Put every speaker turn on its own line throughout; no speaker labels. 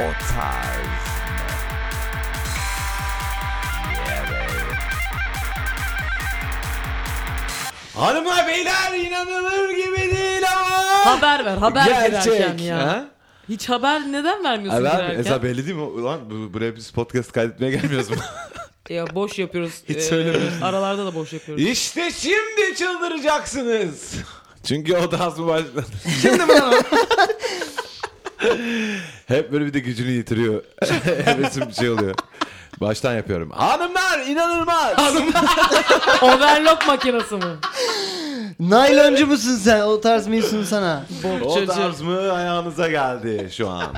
O tarz mı? Evet.
Hanımlar beyler inanılır gibi değil ama.
Haber ver haber girerken ya.
Ha?
Hiç haber neden vermiyorsun
Abi abi
girerken?
Eza belli değil mi? Ulan bu- buraya biz podcast kaydetmeye gelmiyoruz mu?
Ya boş yapıyoruz.
Hiç
Ee,
söylemiyorsun.
Aralarda da boş yapıyoruz.
işte şimdi çıldıracaksınız. Çünkü o da az mı başladı? Şimdi mi lan o? Hep böyle bir de gücünü yitiriyor. Hevesim bir şey oluyor. Baştan yapıyorum. Hanımlar inanılmaz.
Overlock makinesi mi?
Nayloncu musun sen? O tarz mıyım sana?
O tarz mı ayağınıza geldi şu an.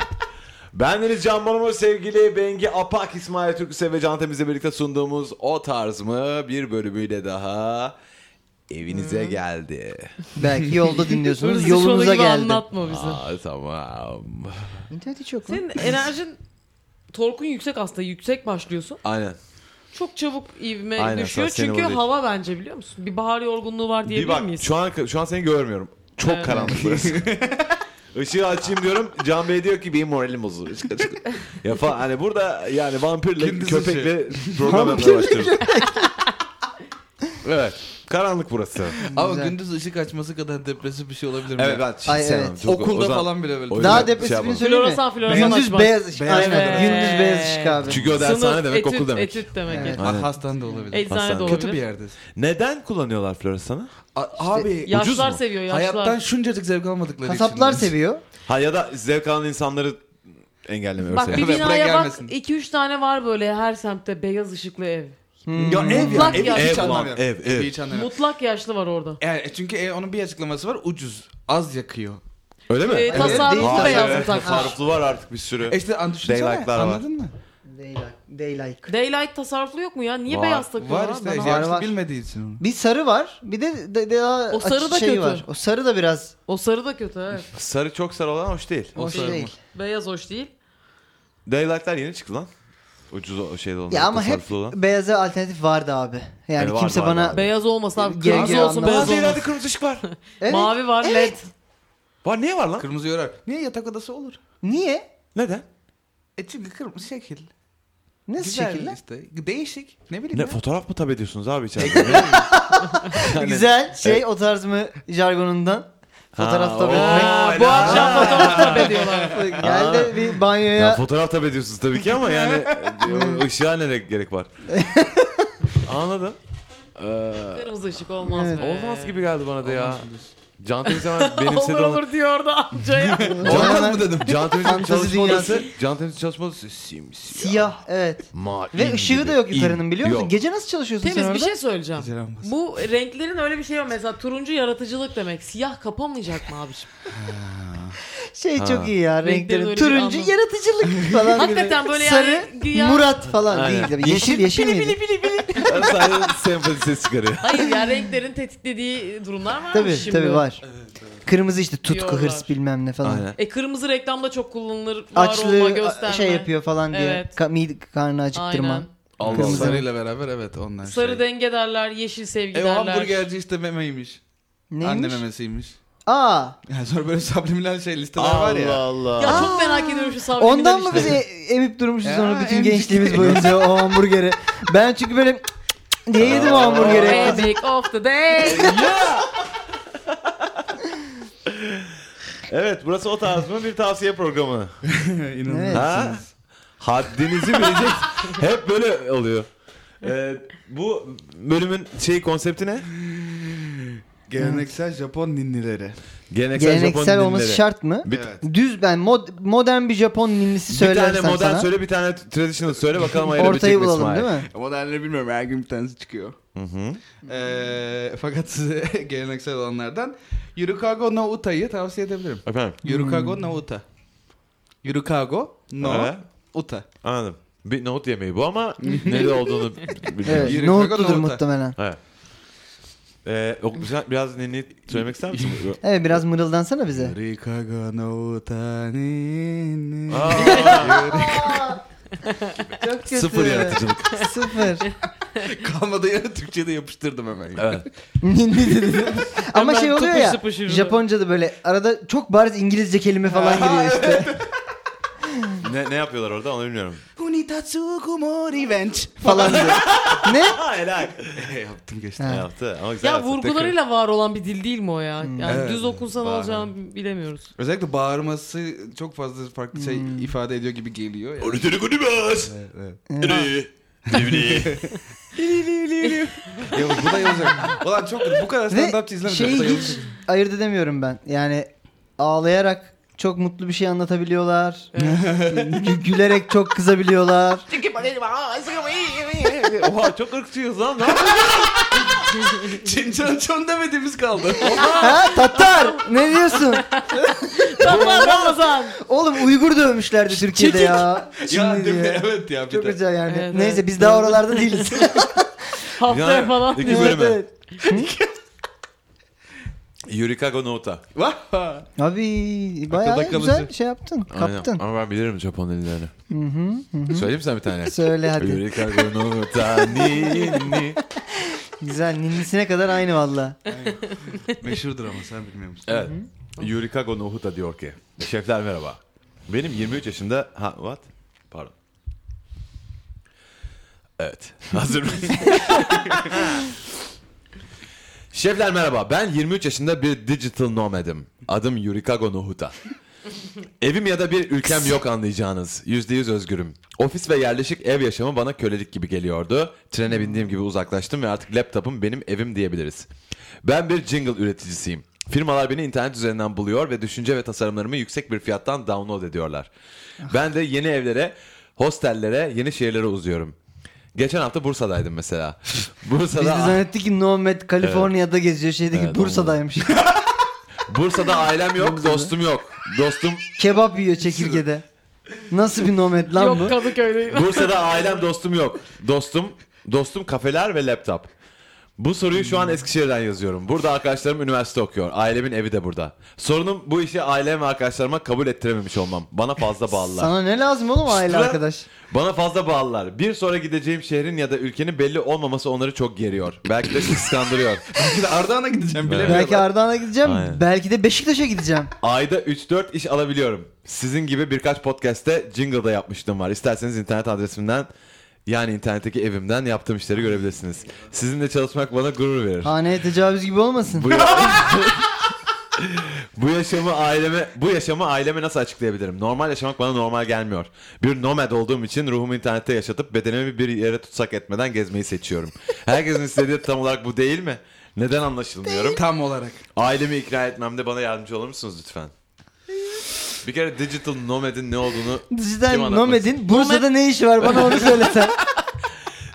Bendeniz Can Bonomo, sevgili Bengi Apak, İsmail Türküse ve Can Temiz'le birlikte sunduğumuz O Tarz mı bir bölümüyle daha evinize geldi.
Belki yolda dinliyorsunuz.
Hırsız
yolunuza
şovu gibi
geldi.
anlatma bizi.
Aa, tamam.
İnternet hiç yok mu?
Senin enerjin torkun yüksek aslında. Yüksek başlıyorsun.
Aynen.
Çok çabuk ivme
Aynen,
düşüyor.
sustainable
Çünkü
değil.
hava bence biliyor musun? Bir bahar yorgunluğu var
Bir
diyebilir
bak
miyiz?
şu an şu an seni görmüyorum. Çok
Evet.
karanlık burası. Işığı açayım diyorum. Can Bey diyor ki benim moralim bozuldu. Çık, çık. ya falan. Hani burada yani vampirle
Gündüz
köpekle program yapmaya başlıyoruz. evet. Karanlık burası.
Ama
Güzel.
gündüz ışık açması kadar depresif bir şey olabilir mi?
Evet
ya?
ben hiç
Ay,
sevmem.
evet.
Çok- o
Okulda
zaman-
falan bile böyle.
o yüzden
Daha
şey
depresifini
yapalım.
söyleyeyim mi?
Floresan, floresan
Gündüz
açmak.
beyaz ışık.
Beyaz
Aynen.
Evet.
Gündüz beyaz ışık abi.
Çünkü o dershane demek
etüt,
okul demek.
Etüt demek.
Evet.
etüt.
Bak hastanede olabilir.
Eczane de
Hastane.
olabilir.
Kötü bir yerdesin.
Neden kullanıyorlar floresanı?
A- abi
Yaşlılar
mu?
seviyor yaşlılar.
hayattan şuncacık zevk almadıkları için.
Kasaplar seviyor.
Ha ya da zevk alan insanları engelleme
Bak
örseği.
bir
Buraya
binaya bak
gelmesin.
2-3 tane var böyle her semtte beyaz ışıklı ev.
Ya ev ya.
Mutlak
Ev,
yaşlı.
Hmm. hiç
Ev ulan,
anlamıyorum.
ev, ev.
Hiç anlamıyorum.
Mutlak yaşlı var orada.
Yani e, çünkü ev, onun bir açıklaması var ucuz. Az yakıyor.
Öyle mi?
Ee,
değil
tasarruflu
tabii.
beyaz
evet,
takmış.
tasarruflu var artık bir sürü.
E işte an düşünsene
Daylight'lar var.
anladın mı?
Daylight. Daylight.
Daylight tasarruflu yok mu ya? Niye
Var.
beyaz takıyorlar?
Var işte
Ben
Var,
yaşlı
var.
bilmediği için onu.
Bir sarı var. Bir de, de, de daha
O sarı
açık
da
şey
kötü.
var. O sarı da biraz
O sarı da kötü evet.
Sarı çok sarı olan hoş değil.
O
hoş
sarı
değil.
Beyaz hoş değil.
Daylight'lar yeni çıktı lan. Ucuz o şeyde olan.
Ya ama hep
tasarruflu olan. E,
beyaza alternatif vardı abi. Yani
Evet, var,
kimse
var,
bana
var.
Beyaz olmasa abi
Geri
kırmızı
geri
olsun
anlamaz.
beyaz
Bazı
olmasın.
yerlerde kırmızı ışık var.
Evet.
Mavi var led.
Var niye var lan?
Kırmızı yorar. Niye yatak odası olur?
Niye?
Neden?
E çünkü kırmızı şekil.
Nasıl
Güzel
şekiller?
işte. Değişik. Ne bileyim
Ne
ya.
fotoğraf mı tab ediyorsunuz abi içeride? Yani-
Güzel şey o tarz mı jargonundan? Fotoğraf tabii.
Ha,
Bu
o-
akşam fotoğraf tabi
Gel de bir banyoya
e, Ya fotoğraf tabi ediyorsunuz tabii ki ama yani e, ışığa ne gerek var? Anladım. Ee,
Kırmızı ışık olmaz
Evet.
be.
olmaz gibi geldi bana da ya.
Olmaz diyorsun.
Can Temiz hemen benimsedi
olur
onu.
olur diyor orada amcaya.
Olmaz mı
dedim? Can Temiz'in
Fantezi
çalışma odası.
dünyası.
Can Temiz'in çalışma odası simsiyah.
siyah evet.
Ma-
Ve
in
ışığı
gibi,
da yok
in.
yukarının biliyor musun?
Yok.
Gece nasıl çalışıyorsun sen
Temiz bir
orada?
şey söyleyeceğim.
Güzel olmaz.
Bu renklerin öyle bir şey var. Mesela turuncu yaratıcılık demek. Siyah kapanmayacak mı abiciğim?
Şey
Ha.
çok iyi ya
Renklerin öyle
renklerin.
bir
Turuncu
anlamı.
yaratıcılık falan gibi.
Hakikaten böyle
Sarı,
yani güya-
Murat falan
Aynen.
değil tabii. Yeşil yeşil
Bili
şey
bili
miydi?
bili bili.
Ben sadece senfoni ses çıkarıyor.
Hayır ya renklerin tetiklediği durumlar var
Tabii
şimdi.
tabii var. Kırmızı işte tutku
Diyorlar.
hırs bilmem ne falan.
Aynen.
E kırmızı reklamda çok kullanılır. Var olma
Açlığı a-
gösterme.
şey yapıyor falan diye.
Evet.
Ka- mide karnı acıktırma.
Aynen.
Allah
Kırmızı
Kırmızı.
sarıyla beraber evet onlar
Sarı
şey.
denge derler, yeşil sevgi
E o
derler.
hamburgerci işte memeymiş.
Neymiş?
Anne memesiymiş.
Aa.
Yani sonra böyle subliminal şey listeler
Allah.
var ya.
Allah Allah.
Ya çok merak ediyorum şu sabriminden
Ondan mı
işte.
biz e- emip durmuşuz
Ya,
sonra bütün
emzik.
gençliğimiz boyunca o hamburgeri? Ben çünkü böyle diye yedim o hamburgeri.
Epic of the day.
Evet burası o tarz mı bir tavsiye programı.
İnanılmaz.
Ha? Haddinizi bilecek. Hep böyle oluyor. Ee, bu bölümün şey konsepti ne?
Geleneksel Japon ninnileri.
Geleneksel,
Geleneksel
Japon
olması
dinleri.
şart mı?
Bir,
Evet.
Düz ben mod- modern bir Japon ninnisi
bir tane
söylersem
modern
sana.
söyle bir tane traditional söyle bakalım ayırabilecek
ortayı
mi
bulalım
İsmail?
değil mi?
Modernleri bilmiyorum her gün bir tanesi çıkıyor.
Hı hı.
Ee, fakat size geleneksel olanlardan Yurukago no Uta'yı tavsiye edebilirim.
Efendim
Yurukago no Uta. Yurukago no
Evet.
Uta.
anladım. Bir nohut yemeği bu ama ne olduğunu bilmiyorum.
Evet.
Yürü,
Nohutludur
kagadol da.
muhtemelen.
Evet. Ee, o- sen biraz ninni söylemek ister misin?
Evet biraz mırıldansana bize.
Yurukago no Uta ninni.
Aa,
Çok kötü.
sıfır yaratıcılık.
Sıfır.
Kalmadı ya Türkçe'de yapıştırdım hemen.
Evet.
Ninni dedi. Ama
Hemen
şey oluyor
tıpış
ya.
tıpış yürü.
Japonca'da böyle arada çok bariz İngilizce kelime falan giriyor işte.
ne, ne yapıyorlar orada onu bilmiyorum.
Unitatsu kumo revenge falan diyor.
ne?
Ha helal.
Yaptım geçti.
Ne
Ha.
yaptı ama güzel
Ya
yaptı.
vurgularıyla var olan bir dil değil mi o ya?
Hmm.
Yani
Evet.
düz okunsa ne
Var.
olacağını bilemiyoruz.
Özellikle bağırması çok fazla farklı şey
Hmm.
ifade ediyor gibi geliyor. Yani.
Orada konumuz.
Evet, evet.
Ri, divri.
Ya, bu da yazılacak. Ulan çok bu kadar stand-upçı
Ve
izlemedim. Bu
şeyi
da
hiç
yazılacak.
ayırt edemiyorum ben. Yani ağlayarak çok mutlu bir şey anlatabiliyorlar. Gü- Gülerek çok kızabiliyorlar.
Ee, Oha çok ırkçıyız lan. Ne yapıyorsun?
Çin çan çon demediğimiz kaldı.
ha Tatar ne diyorsun?
Ramazan Ramazan.
Oğlum Uygur dövmüşlerdi Türkiye'de ya.
ya
Çinli
değil mi?
diye.
Evet ya bir
Çok
de.
güzel yani.
Evet,
Neyse
evet.
biz daha oralarda değiliz.
Haftaya
Yani
falan.
iki
diyor.
bölüm-
Evet, evet.
Yurikago Nouta.
Vah!
Abi bayağı
Akılda
güzel
kalıcı.
şey yaptın.
Aynen.
Kaptın.
Ama ben bilirim Japon dillerini. Söyleyeyim mi sana bir tane?
Söyle hadi.
Yurikago Nouta ni ni.
Güzel. Ninnisine kadar aynı valla.
Meşhurdur ama sen bilmiyor musun?
Evet. Yurikago Nohuta diyor ki. Şefler merhaba. Benim 23 yaşında... Ha what? Pardon. Evet. Hazır mısın? Şefler merhaba. Ben 23 yaşında bir digital nomadım. Adım Yurikago Nohuta. Evim ya da bir ülkem yok anlayacağınız. %100 özgürüm. Ofis ve yerleşik ev yaşamı bana kölelik gibi geliyordu. Trene bindiğim gibi uzaklaştım ve artık laptopum benim evim diyebiliriz. Ben bir jingle üreticisiyim. Firmalar beni internet üzerinden buluyor ve düşünce ve tasarımlarımı yüksek bir fiyattan download ediyorlar.
Ah.
Ben de yeni evlere, hostellere, yeni şehirlere uzuyorum. Geçen hafta Bursa'daydım mesela.
Biz de
Bursa'da
zannettik ki Nomad Kaliforniya'da geziyor şeydeki
Evet,
Bursa'daymış.
Bursa'da ailem yok, dostum yok. Dostum
Kebap yiyor çekirgede. Nasıl bir nomad lan bu?
Yok Kadıköy'deyim.
Bursa'da ailem dostum yok. Dostum, dostum kafeler ve laptop. Bu soruyu şu an Eskişehir'den yazıyorum. Burada arkadaşlarım üniversite okuyor. Ailemin evi de burada. Sorunum bu işi ailem ve arkadaşlarıma kabul ettirememiş olmam. Bana fazla bağlılar.
Sana ne lazım oğlum aile
Sıra-
arkadaş?
Bana fazla bağlılar. Bir sonra gideceğim şehrin ya da ülkenin belli olmaması onları çok geriyor. Belki de kıskandırıyor.
Belki de Ardahan'a gideceğim bilemiyorum.
Belki Ardahan'a gideceğim.
Aynen.
Belki de Beşiktaş'a gideceğim.
Ayda 3-4 iş alabiliyorum. Sizin gibi birkaç podcast'te jingle da yapmıştım var. İsterseniz internet adresimden yani internetteki evimden yaptığım işleri görebilirsiniz. Sizinle çalışmak bana gurur verir.
Haneye tecavüz gibi olmasın.
Bu, ya- bu yaşamı aileme bu yaşamı aileme nasıl açıklayabilirim? Normal yaşamak bana normal gelmiyor. Bir nomad olduğum için ruhumu internette yaşatıp bedenimi bir yere tutsak etmeden gezmeyi seçiyorum. Herkesin istediği tam olarak bu değil mi? Neden anlaşılmıyorum?
Tam olarak.
Ailemi ikna etmemde bana yardımcı olur musunuz lütfen? Bir kere digital nomad'in ne olduğunu
Dijital
kim anlatmak
nomad'in Bursa'da ne işi var bana onu söylesen.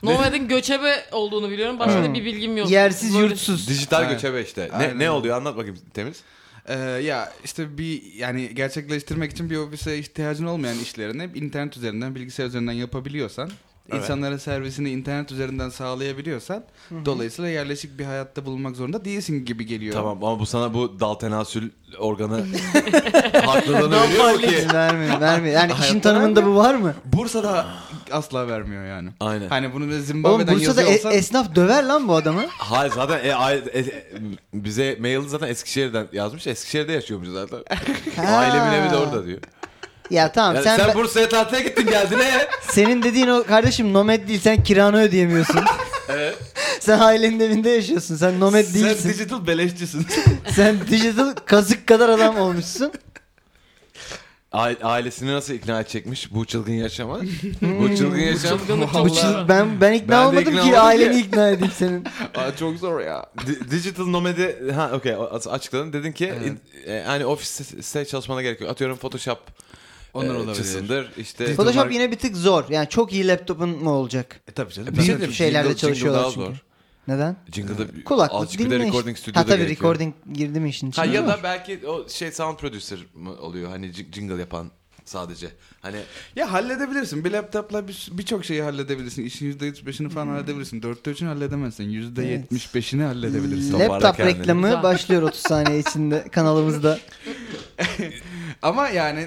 Nomad'in göçebe olduğunu biliyorum. Başka da bir bilgim yok.
Hmm. Yersiz
Böyle-
yurtsuz.
Dijital
Aynen.
göçebe işte. Ne,
Aynen
ne
öyle.
oluyor anlat bakayım Temiz.
Ee, ya işte bir yani gerçekleştirmek için bir ofise ihtiyacın olmayan işlerini internet üzerinden, bilgisayar üzerinden yapabiliyorsan, insanlara servisini internet üzerinden sağlayabiliyorsan, dolayısıyla yerleşik bir hayatta bulunmak zorunda değilsin gibi geliyor.
Tamam ama bu sana bu dal tenasül organı haklılığını veriyor mu ki?
vermiyor, vermiyor. Yani işin tanımında bu var mı?
Bursa'da asla vermiyor yani.
Aynen.
Hani bunu da
Oğlum
Zimbabwe'den
Bursa'da e-
yazıyorsan...
esnaf döver lan bu adamı.
Hayır zaten e, ay- e- e- bize mailini zaten Eskişehir'den yazmış. Eskişehir'de yaşıyormuş zaten.
Ha.
Ailemin evi de orada diyor.
Ya tamam
Yani
sen,
sen, Bursa'ya tatile gittin geldin he.
senin dediğin o kardeşim nomad değil sen kiranı ödeyemiyorsun. Sen ailenin evinde yaşıyorsun. Sen nomad
Sen
değilsin.
digital beleşçisin.
sen dijital kazık kadar adam olmuşsun.
A- Ailesini nasıl ikna edecekmiş bu çılgın yaşama? bu çılgın yaşam.
Çılgınlık
Bu
çok
çiz- ben ben ikna
Ben de
olmadım
ikna
ki
olmadım
aileni
ki.
ikna edeyim senin.
Aa, çok zor ya.
Di- Digital nomadi ha okey o- as- açıkladın dedin ki
Evet.
in- e, hani ofiste çalışmana gerek yok. Atıyorum Photoshop
Onlar
e,
olabilir.
çısındır. işte
Foto-
Photoshop
Mark-
yine bir tık zor. Yani çok iyi laptopun mu olacak?
E tabii canım.
Bir şey
Bütün
diyeyim,
şeylerde
jingle- jingle
çalışıyorlar
daha
çünkü.
zor.
Neden?
Jingle'da bir-
Kulaklık
azıcık bir de
dinle.
recording
işte. Ha
stüdyoda
tabii
gerekiyor.
recording girdi mi işin
Ha
içine?
ya
Ama-
da belki o şey sound producer mı oluyor hani jing- jingle yapan sadece. Hani
Ya halledebilirsin. Bir laptopla bir- birçok şeyi halledebilirsin. İşin %35'ini falan
Hmm.
halledebilirsin. Dörtte üçünü halledemezsin. %75'ini halledebilirsin.
Lap-
Laptop
Toparla kendini.
reklamı
Güzel.
başlıyor 30 saniye içinde kanalımızda.
Ama yani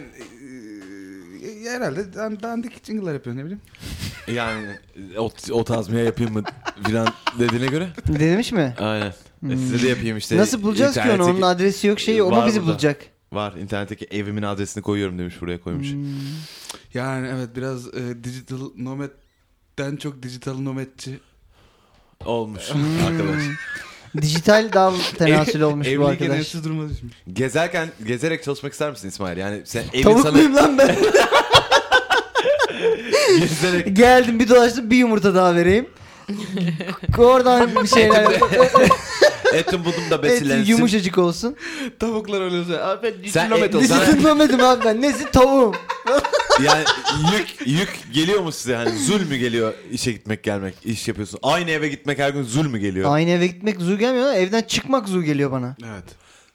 e, herhalde dan- dandik jingle'lar yapıyor ne bileyim.
yani o, o tazmiye yapayım mı filan dediğine göre.
Demiş mi?
Aynen. E, size de yapayım işte.
Nasıl bulacağız ki onu?
İnternetteki-
Onun adresi yok şeyi. O mu
Var
bizi
burada.
bulacak?
Var internetteki evimin adresini koyuyorum demiş buraya koymuş.
Hmm.
Yani evet biraz e, digital nomad'den çok digital nomadçi.
Olmuş
Hmm.
arkadaş.
Dijital dal tenasül olmuş bu
Evliliği
arkadaş.
genelsiz duruma düşmüş.
Gezerken gezerek çalışmak ister misin İsmail? Yani sen evin
Tavuk
sana
muyum lan ben?
gezerek
Geldim bir dolaştım bir yumurta daha vereyim. Oradan bir şeyler
etim buldum da
et
besilensin.
yumuşacık olsun.
Tavuklar öyle söylüyor. Abi ben
Sen
digital nomad
ev-
oldum.
Sen-
Düşünmemedim abi ben. Nesi tavuğum?
Yani yük yük geliyor mu size? Hani zul mü geliyor işe gitmek gelmek iş yapıyorsun? Aynı eve gitmek her gün zul mü geliyor?
Aynı eve gitmek zul gelmiyor. Evden çıkmak zul geliyor bana.
Evet.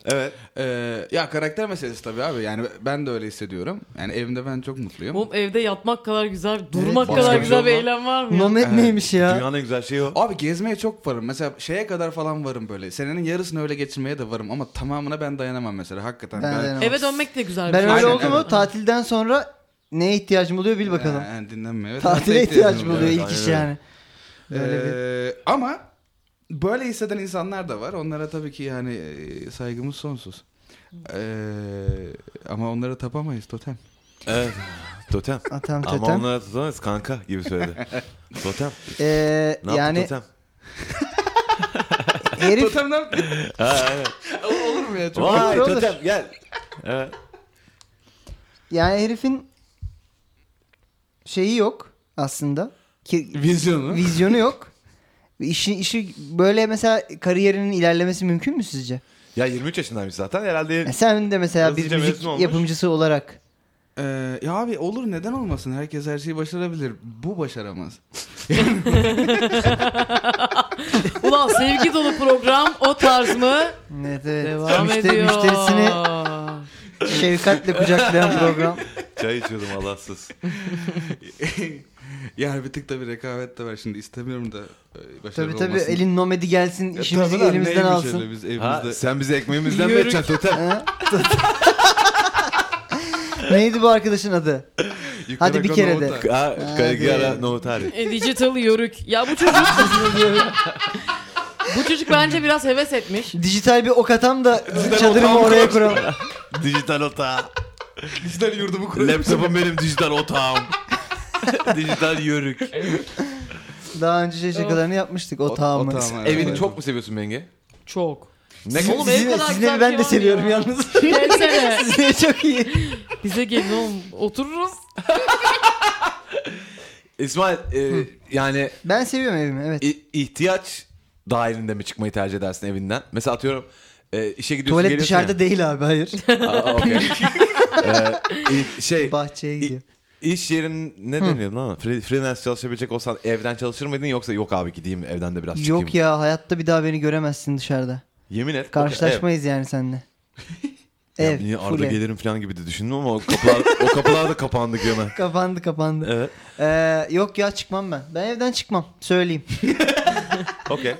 Evet.
Ee, ya karakter meselesi tabii abi. Yani ben de öyle hissediyorum. Yani evimde ben çok mutluyum.
Oğlum evde yatmak kadar güzel, durmak
başka
kadar
bir
güzel
şey
bir
yok
eylem var mı?
Nomet neymiş ya?
Dünyanın en güzel şeyi o.
Abi gezmeye çok varım. Mesela şeye kadar falan varım böyle. Senenin yarısını öyle geçirmeye de varım ama tamamına ben dayanamam mesela hakikaten.
Ben dayanamam.
Eve dönmek de güzel bir
Ben
şey.
öyle
Aynen,
oldu mu
evet.
tatilden sonra neye ihtiyacım oluyor bil bakalım.
Yani dinlenmeye. ve
Tatile
tatile
ihtiyaç
ihtiyacım
oluyor
oluyor.
ilk iş yani. Böyle bir-
Ee, Ama böyle hisseden insanlar da var. Onlara tabii ki yani e, saygımız sonsuz. Ee, ama onlara tapamayız totem.
Evet. Totem.
Atam
Ama
totem.
onlara tutamayız kanka gibi söyledi. Totem.
Ee,
Ne yani...
yani
totem?
herif
Totem ne yaptı? Olur mu ya? Çok
Vay
olur.
totem gel. Evet.
yani herifin şeyi yok aslında. Ki
Vizyonu.
vizyonu yok. İşi işi böyle mesela kariyerinin ilerlemesi mümkün mü sizce?
Ya 23 yaşındaymış zaten
Ya
herhalde.
sen de mesela bir
Hızlıca
müzik
mezun olmuş.
yapımcısı olarak
Ee, ya abi olur neden olmasın? Herkes her şeyi başarabilir. Bu başaramaz.
Ulan sevgi dolu program o tarz mı?
evet, evet.
Devam
Müşte-
ediyor.
müşterisini şefkatle kucaklayan program.
Çay içiyordum Allahsız.
Yani bir tık da bir rekabet de var şimdi istemiyorum da e, başarılı
tabii tabii
olmasın.
elin nomedi gelsin
Ya
işimizi
tabii lan,
elimizden
neymiş
alsın.
öyle biz
Ha,
evimizde.
sen bizi ekmeğimizden mi
Yürü.
edeceksin totem?
Ha? Neydi bu arkadaşın adı? Hadi bir kere de.
Ha, Kaligara Nohut Ali.
E, digital yörük. Ya bu çocuk bu çocuk bence biraz heves etmiş.
Dijital bir ok atam da çadırımı
otağımı
oraya
kurarım.
kuralım.
Dijital otağım.
Dijital yurdumu
Laptopum benim dijital otağım. dijital yörük.
Daha önce şey şakalarını yapmıştık otağımı.
Evini çok mu seviyorsun Menge?
Çok.
Ne
Oğlum ev
Sizin,
kadar
sizin
güzel
evi
bir şey
ben de
var mı
seviyorum
ya?
yalnız.
Gelsene.
Sizin ev çok iyi.
Bize gelin oğlum. Otururuz.
İsmail e, yani
Ben seviyorum evimi evet.
i- ihtiyaç dahilinde mi çıkmayı tercih edersin evinden? Mesela atıyorum e, işe gidiyorsun
Tuvalet
geliyorsun
dışarıda
ya.
değil abi hayır.
Aa, okey. E, i- şey
Bahçeye gidiyor.
iş yerin ne deniyor lan? Fre- Freelance çalışabilecek olsan evden çalışır mıydın yoksa yok abi gideyim evden de biraz çıkayım.
Yok ya hayatta bir daha beni göremezsin dışarıda.
Yemin et.
Karşılaşmayız yani seninle.
Ev.
Ev.
Ya, niye
full
Arda
ev.
gelirim falan gibi de düşündüm ama o kapılar, o kapılar da kapandı göme.
Kapandı kapandı.
Evet.
Ee, yok ya çıkmam ben. Ben evden çıkmam. Söyleyeyim.
Okey.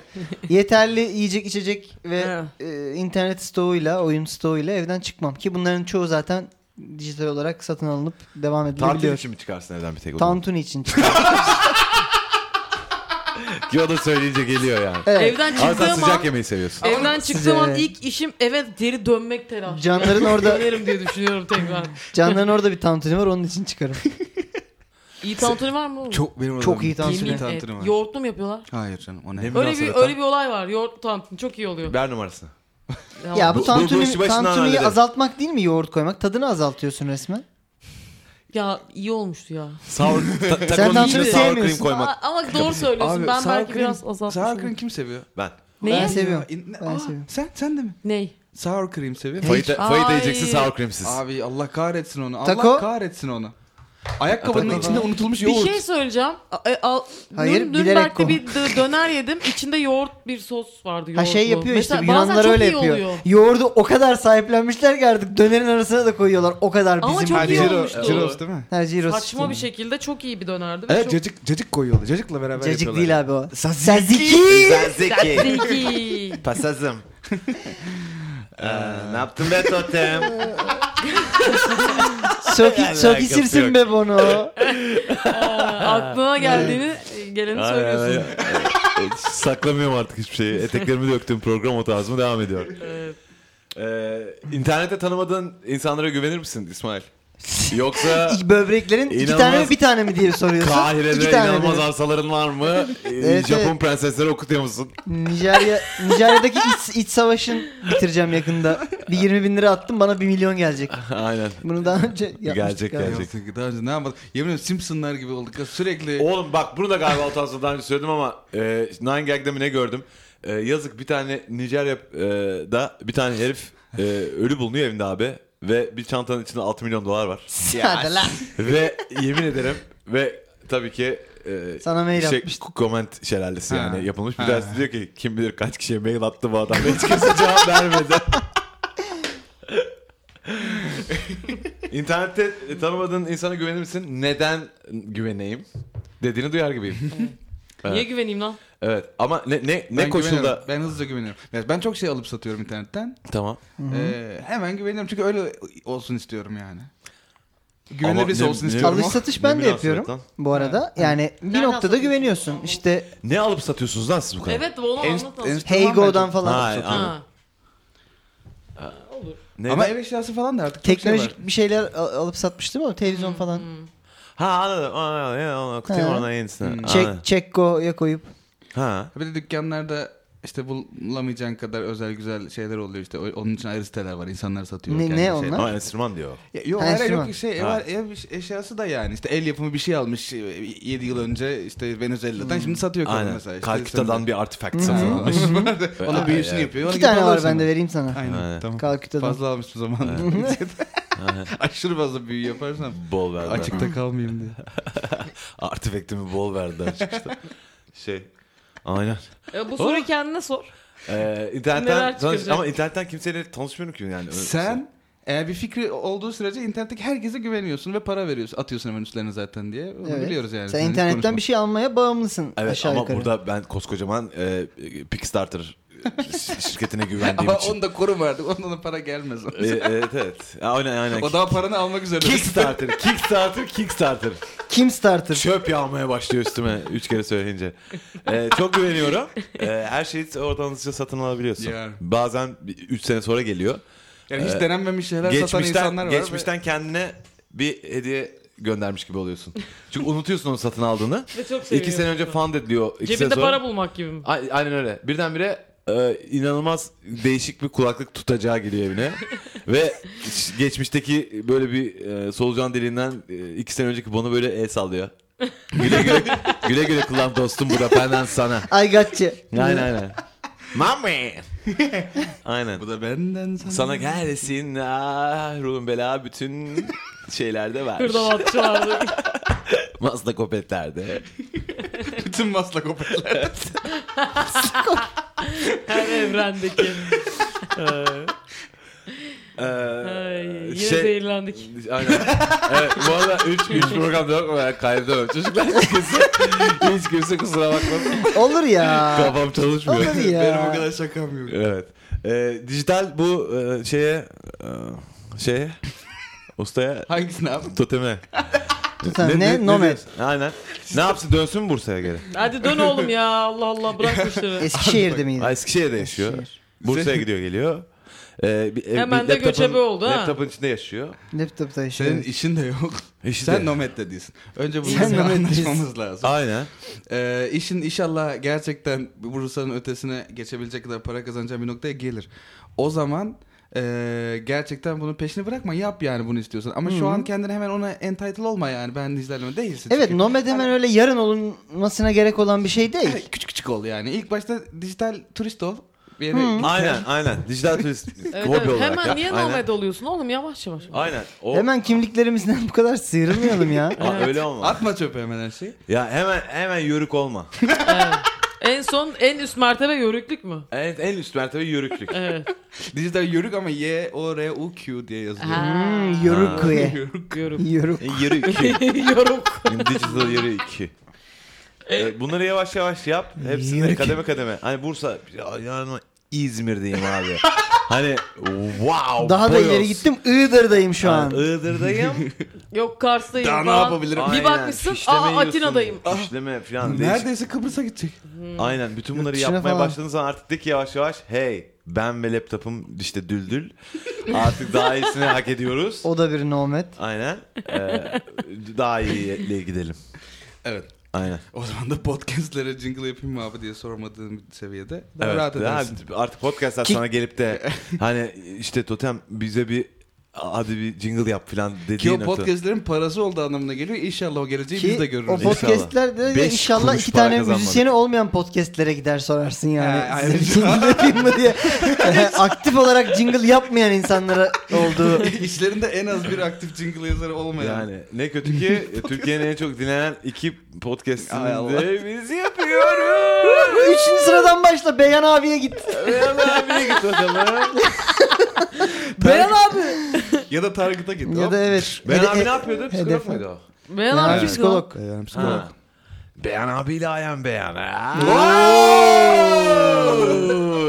Yeterli yiyecek içecek ve
Evet.
e, internet stoğuyla, oyun stoğuyla evden çıkmam. Ki bunların çoğu zaten dijital olarak satın alınıp devam
Tatil
edilebiliyor.
için mi çıkarsın evden bir tek o zaman?
Tantuni için.
Ki o da söyleyince geliyor yani.
Evet.
Evden
Ama sen
çıktığım an
sıcak yemeği seviyorsun.
Evden çıktığım an
Size-
ilk işim eve geri dönmek telaşı.
Canların orada
Dönerim diye düşünüyorum tekrar.
canların orada bir tantuni var onun için çıkarım.
İyi tantuni var mı oğlum?
Çok benim
Çok
odamda
iyi tantuni.
iyi
Yemin et.
tantuni var.
Yoğurtlu mu yapıyorlar?
Hayır canım o ne?
Ne-
Öyle
Biraz
bir
sonra
öyle bir olay var. Yoğurtlu tantuni çok iyi oluyor.
Ver numarasını.
Ya,
ya bu
Bu- bu- bu
tantuni,
işi başından
tantuniyi
halledelim.
azaltmak değil mi yoğurt koymak? Tadını azaltıyorsun resmen.
ya iyi olmuştu ya.
Sour, ta- takonun
tantuni
içine sour cream
sevmiyorsun.
koymak.
Aa, ama doğru söylüyorsun. ben
sour
belki
cream-
biraz azaltmışım.
Sour cream kim seviyor?
Ben.
Ben
Neyi?
seviyorum.
Ya, in-
Ben
Aa,
seviyorum.
Sen, sen de mi?
Ney?
Sour cream seviyor.
Fayita, fayita
Ay.
yiyeceksin sour creamsiz.
Abi Allah kahretsin onu.
Taco?
Allah kahretsin onu. Ayakkabının
Taco.
içinde unutulmuş
Bir
yoğurt.
şey söyleyeceğim. A- e, al-
Hayır,
Nür-
bilerek
Nürnberg'de
koy.
bir dö- döner yedim. İçinde yoğurt bir sos vardı. Yoğurtlu.
Ha şey yapıyor işte
Mesela bazen
Yunanlar
çok
öyle
iyi
yapıyor.
oluyor.
Yoğurdu o kadar sahiplenmişler ki artık dönerin arasına da koyuyorlar. O kadar
Ama
bizim.
çok
Ha,
iyi
Ciro-
olmuştu.
Ciro's değil mi?
Ha, Gyros
Saçma
işte.
bir şey. şekilde çok iyi bir dönerdi. ve
Evet
çok...
cacık, cacık koyuyordu. Cacıkla beraber
Cacık
yapıyorlar.
değil abi o. Saziki.
Zeki.
Zeki.
Pasazım. Ee, ne yaptın be totem?
Soki, soki
alakası
sirsin
yok.
be bunu.
Aklına geldiğini, geleni söylüyorsun.
Saklamıyorum artık hiçbir şeyi. Eteklerimi döktüğüm program o tarzıma devam ediyor.
Evet.
Ee, internette tanımadığın insanlara güvenir misin İsmail? Yoksa
İki Böbreklerin iki
İnanılmaz-
tane mi bir tane mi diye soruyorsun.
Kahire'de
iki tane
inanılmaz
dedim.
arsaların var mı? Ee,
Evet,
Japon
evet.
prensesleri okutuyor musun?
Nijerya, Nijerya'daki iç, iç savaşın bitireceğim yakında. Bir 20 bin lira attım bana 1 milyon gelecek.
Aynen.
Bunu daha önce yapmıştık.
Gelecek,
galiba.
gelecek.
Yaptık, Daha önce ne yapmadık? Yemin ederim Simpsonlar gibi olduk. ya. Sürekli
Oğlum bak bunu da galiba Altans'la daha önce söyledim ama e, Nine Gag'de mi ne gördüm? E, yazık bir tane Nijerya'da bir tane herif e, ölü bulunuyor evinde abi. Ve bir çantanın içinde 6 milyon dolar var.
Hadi lan.
ve yemin ederim ve tabii ki e,
Sana mail
şey,
atmıştı.
Comment şelalesi
Ha.
yani yapılmış. Bir
Ha.
tanesi diyor ki kim bilir kaç kişiye mail attı bu adam. Hiç kimse cevap vermedi. İnternette e, tanımadığın insana güvenir misin? Neden güveneyim? Dediğini duyar gibiyim.
Niye güveneyim lan?
Evet ama ne ne ne
Ben
koşulda?
güveniyorum. Ben hızlıca güveniyorum. Ya Ben çok şey alıp satıyorum internetten.
Tamam.
Ee, hemen güveniyorum çünkü öyle olsun istiyorum yani.
Ama
Güvenilebilirse
ne-
olsun
ne-
istiyorum.
Alış
ama-
satış
Ne
ben de
münasebet
yapıyorum
lan.
bu arada. Yani bir
Nereden
noktada
satıyorsun?
güveniyorsun. İşte
Ne alıp satıyorsunuz lan siz bu kadar?
Evet onu
En-
anlat
en-
azıcık.
Tamam,
Heygo'dan
ben-
falan.
Ha,
Satın.
anladım.
Ha. Olur.
Neden?
Ama ev eşyası falan da artık çok
Teknolojik
Şey var.
bir şeyler al- alıp satmıştım ama
Hmm.
televizyon falan.
ha anladım. Anladım. anladım. Kutuyu
Ha. Şey,
oradan yenisini. Anladım.
Çek Çekko'ya koyup
Ha.
Bir de dükkanlarda işte bulamayacağın kadar özel güzel şeyler oluyor işte. O- Onun için ayrı siteler var. İnsanlar satıyor.
Ne-
kendi
ne
şey-
onlar?
Ama enstrüman diyor.
Ya, yok
Ha,
hayır
enstrüman.
yok şey ev,
Ha.
ev eş- eşyası da yani işte el yapımı bir şey almış 7 yıl önce işte Venezuela'dan
Hmm.
şimdi satıyor kadın
Aynen.
mesela. İşte
Kalküta'dan bir artifact satın
satın
almış.
almış. Onun büyüsünü
Aynen.
yapıyor.
iki
Ona
tane
gidip
var
alırsın
bende
onu.
vereyim sana.
Aynen,
Aynen.
tamam.
Kalküta'dan.
Fazla almış bu zaman. Aşırı fazla büyü yaparsam
bol verdi.
açıkta kalmayayım diye.
Artifact'imi bol verdi açıkçası. şey. Aynen.
E, bu soruyu kendine sor.
Ee,
Neler
internetten
çıkacak?
tanış- ama internetten kimseyle tanışmıyorum ki yani. Öyle-
Sen eğer bir fikri olduğu sürece internetteki herkese güveniyorsun ve para veriyorsun. Atıyorsun hemen üstlerine zaten diye. Onu
Evet.
biliyoruz yani.
Sen internetten bir şey almaya bağımlısın
Evet
aşağı
ama
yukarı.
burada ben koskocaman e, Kickstarter ş- şirketine güvendiğim
şey-
Ama
için.
onu da korum artık. Ondan da para gelmez.
Ee, evet evet. Aynen aynen.
o daha paranı almak üzere.
Kickstarter, Kickstarter, Kickstarter.
Kim starter?
Çöp yağmaya başlıyor üstüme üç kere söyleyince. Ee, çok güveniyorum. Ee, her şeyi oradan hızlıca satın alabiliyorsun.
Yani.
Bazen 3 sene sonra geliyor.
Yani hiç denenmemiş şeyler satan
Ee, geçmişten
insanlar var. ve-
geçmişten kendine bir hediye göndermiş gibi oluyorsun. Çünkü unutuyorsun onu satın aldığını.
Ve çok seviyorum.
İki sene önce fan ediliyor. İki
Cebinde
sene sonra...
para bulmak gibi mi?
A- Aynen öyle. Birdenbire e, inanılmaz değişik bir kulaklık tutacağı geliyor evine. Ve ş- geçmişteki böyle bir e, solucan deliğinden e, iki sene önceki bana böyle el sallıyor. Güle güle, güle güle kullan dostum bu da benden sana.
Ay gotcha.
Aynen aynen. Mami. aynen.
Bu da benden sana.
Sana gelsin ah, ruhun bela bütün şeylerde var.
Hırdavatçılardı.
Mazda kopetlerde.
Bütün maslak opeler.
Her evrendeki. Ay,
Ee,
yine
şey,
zehirlendik.
Aynen. evet, bu arada 3 3 programda yok mu? Yani kaydedemem. Çocuklar hiç kimse, hiç kimse kusura bakmasın.
Olur ya.
Kafam çalışmıyor.
Olur ya.
Benim o kadar şakam yok.
Evet. Ee, dijital bu e, şeye e, şeye ustaya
Hangisini abi?
toteme.
Tutan ne? Nomad.
diyorsun? Aynen. Ne yapsın dönsün mü Bursa'ya geri?
Hadi dön oğlum ya. Allah Allah bırak bu işleri.
Eskişehir'de miydi?
Ha, Eskişehir'de yaşıyor.
Eskişehir.
Bursa'ya gidiyor geliyor. Ee, bir, ev-
Hemen
bir
de
laptopun-
göçebe oldu ha.
Laptopun içinde yaşıyor.
Laptop'ta yaşıyor.
Senin işin de yok.
İşi
Sen
de-
nomad'de değilsin. Önce bunu
Sen
bir
nomad'desin.
anlaşmamız lazım.
Aynen.
Ee, işin inşallah gerçekten Bursa'nın ötesine geçebilecek kadar para kazanacağın bir noktaya gelir. O zaman ee, gerçekten bunun peşini bırakma. Yap yani bunu istiyorsan. Ama şu an kendine hemen ona entitled olma yani. Ben dizilerle değilsin.
Evet
çünkü.
Nomad hemen öyle yarın olunmasına gerek olan bir şey
Evet,
değil.
küçük küçük ol yani. İlk başta dijital turist ol. Bir yere git.
Aynen aynen. Dijital turist
Evet,
hobi
evet.
olarak.
Hemen
ya.
niye
Aynen.
nomad oluyorsun oğlum yavaş yavaş.
Aynen. O,
Hemen kimliklerimizden bu kadar sıyrılmayalım ya.
Aa, öyle olmaz.
Atma çöpe hemen her şeyi.
Ya hemen hemen yörük olma.
Evet. En son en üst mertebe yörüklük mü?
En, en üst mertebe yörüklük.
Evet.
Dijital yörük ama Y, O, R, U, Q diye yazılıyor.
Hmm, Yorukuye.
Yörük.
Yörük.
Yoruk.
Yörük.
Yoruk.
Digital yeri 2. bunları yavaş yavaş yap. Hepsini
Yörük.
kademe kademe. Hani Bursa, ya- yani İzmir'deyim abi. hani wow.
Daha da
boyoz.
ileri gittim Iğdır'dayım şu
Yani
an.
Iğdır'dayım.
Yok Kars'tayım
Daha ne
falan.
yapabilirim?
Aynen,
Bir bakmışsın
fişleme
aa
yiyorsun,
Atina'dayım. Hmm.
Fişleme falan. Değişik.
Neredeyse Kıbrıs'a gidecek.
Aynen bütün bunları
Yurt dışına
yapmaya
falan.
başladığın zaman artık de ki yavaş yavaş hey ben ve laptopum işte düldül. Artık daha iyisini hak ediyoruz.
O da bir nomet.
Aynen. Ee, daha iyiye gidelim.
Evet.
Aynen.
O zaman da podcastlere jingle yapayım mı abi diye sormadığım seviyede daha
Evet,
rahat
daha
edersin.
artık podcastlar sana gelip de hani işte Totem bize bir hadi bir jingle yap falan
Ki
dediği
o
nokta.
podcastlerin parası olduğu anlamına geliyor. İnşallah o geleceği
Ki
biz de görürüz.
o podcastler de
Beş
inşallah
kuruş
iki
para
tane
kazanmadık.
müzisyeni olmayan podcastlere gider sorarsın yani.
Ha,
Size bir
ayrıca.
jingle yapayım mı diye. Aktif olarak jingle yapmayan insanlara olduğu.
İşlerinde en az bir aktif jingle yazarı olmayan.
Yani ne kötü ki Türkiye'nin en çok dinlenen iki podcastini
Ay Allah.
de biz yapıyoruz.
Üçüncü sıradan başla Beyan abiye git.
Beyan abiye git bakalım.
Beyan abi.
Ya da Target'a git.
Ya da evet.
Beyan
Ya da
abi
e-
ne yapıyordu? Psikolog
hedef-
muydu o?
Beyan
Beyan
abi
abi
kimdi o?
psikolog.
Yani psikolog.
Ha. Beyan abiyle ayan beyan. ha.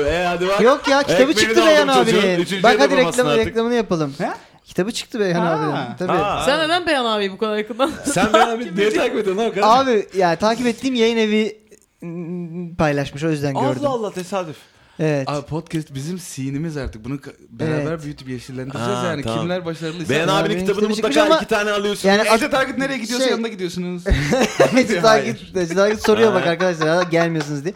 E hadi bak.
Yok ya kitabı
Ekmeğini de
çıktı
aldım
Beyan
çocuğun.
abinin.
Üçüncüye
Bak
de
hadi
bulamazsın
reklamı,
artık.
reklamını yapalım.
Ha?
Kitabı çıktı Beyhan
Ha.
abinin. Tabii.
Ha.
Sen neden Beyan abi bu kadar yakından?
Sen Beyan abi niye takip ediyorsun lan o kadar?
Abi yani takip ettiğim yayın evi mm, paylaşmış o yüzden gördüm.
Allah Allah tesadüf.
Evet.
Abi podcast bizim sinimiz artık. Bunu ka- beraber
Evet.
büyütüp yeşillendireceğiz
Ha,
yani.
tamam.
Kimler başarılıysa.
Beyan
abi
abinin kitabını
kitabı çıkmış
mutlaka
ama-
iki tane alıyorsun.
Yani
Ece Target nereye gidiyorsa
Şey-
yanına gidiyorsunuz.
Hacı
Hayır.
Takip, Hacı Takip soruyor bak arkadaşlar "Hala gelmiyorsunuz diye.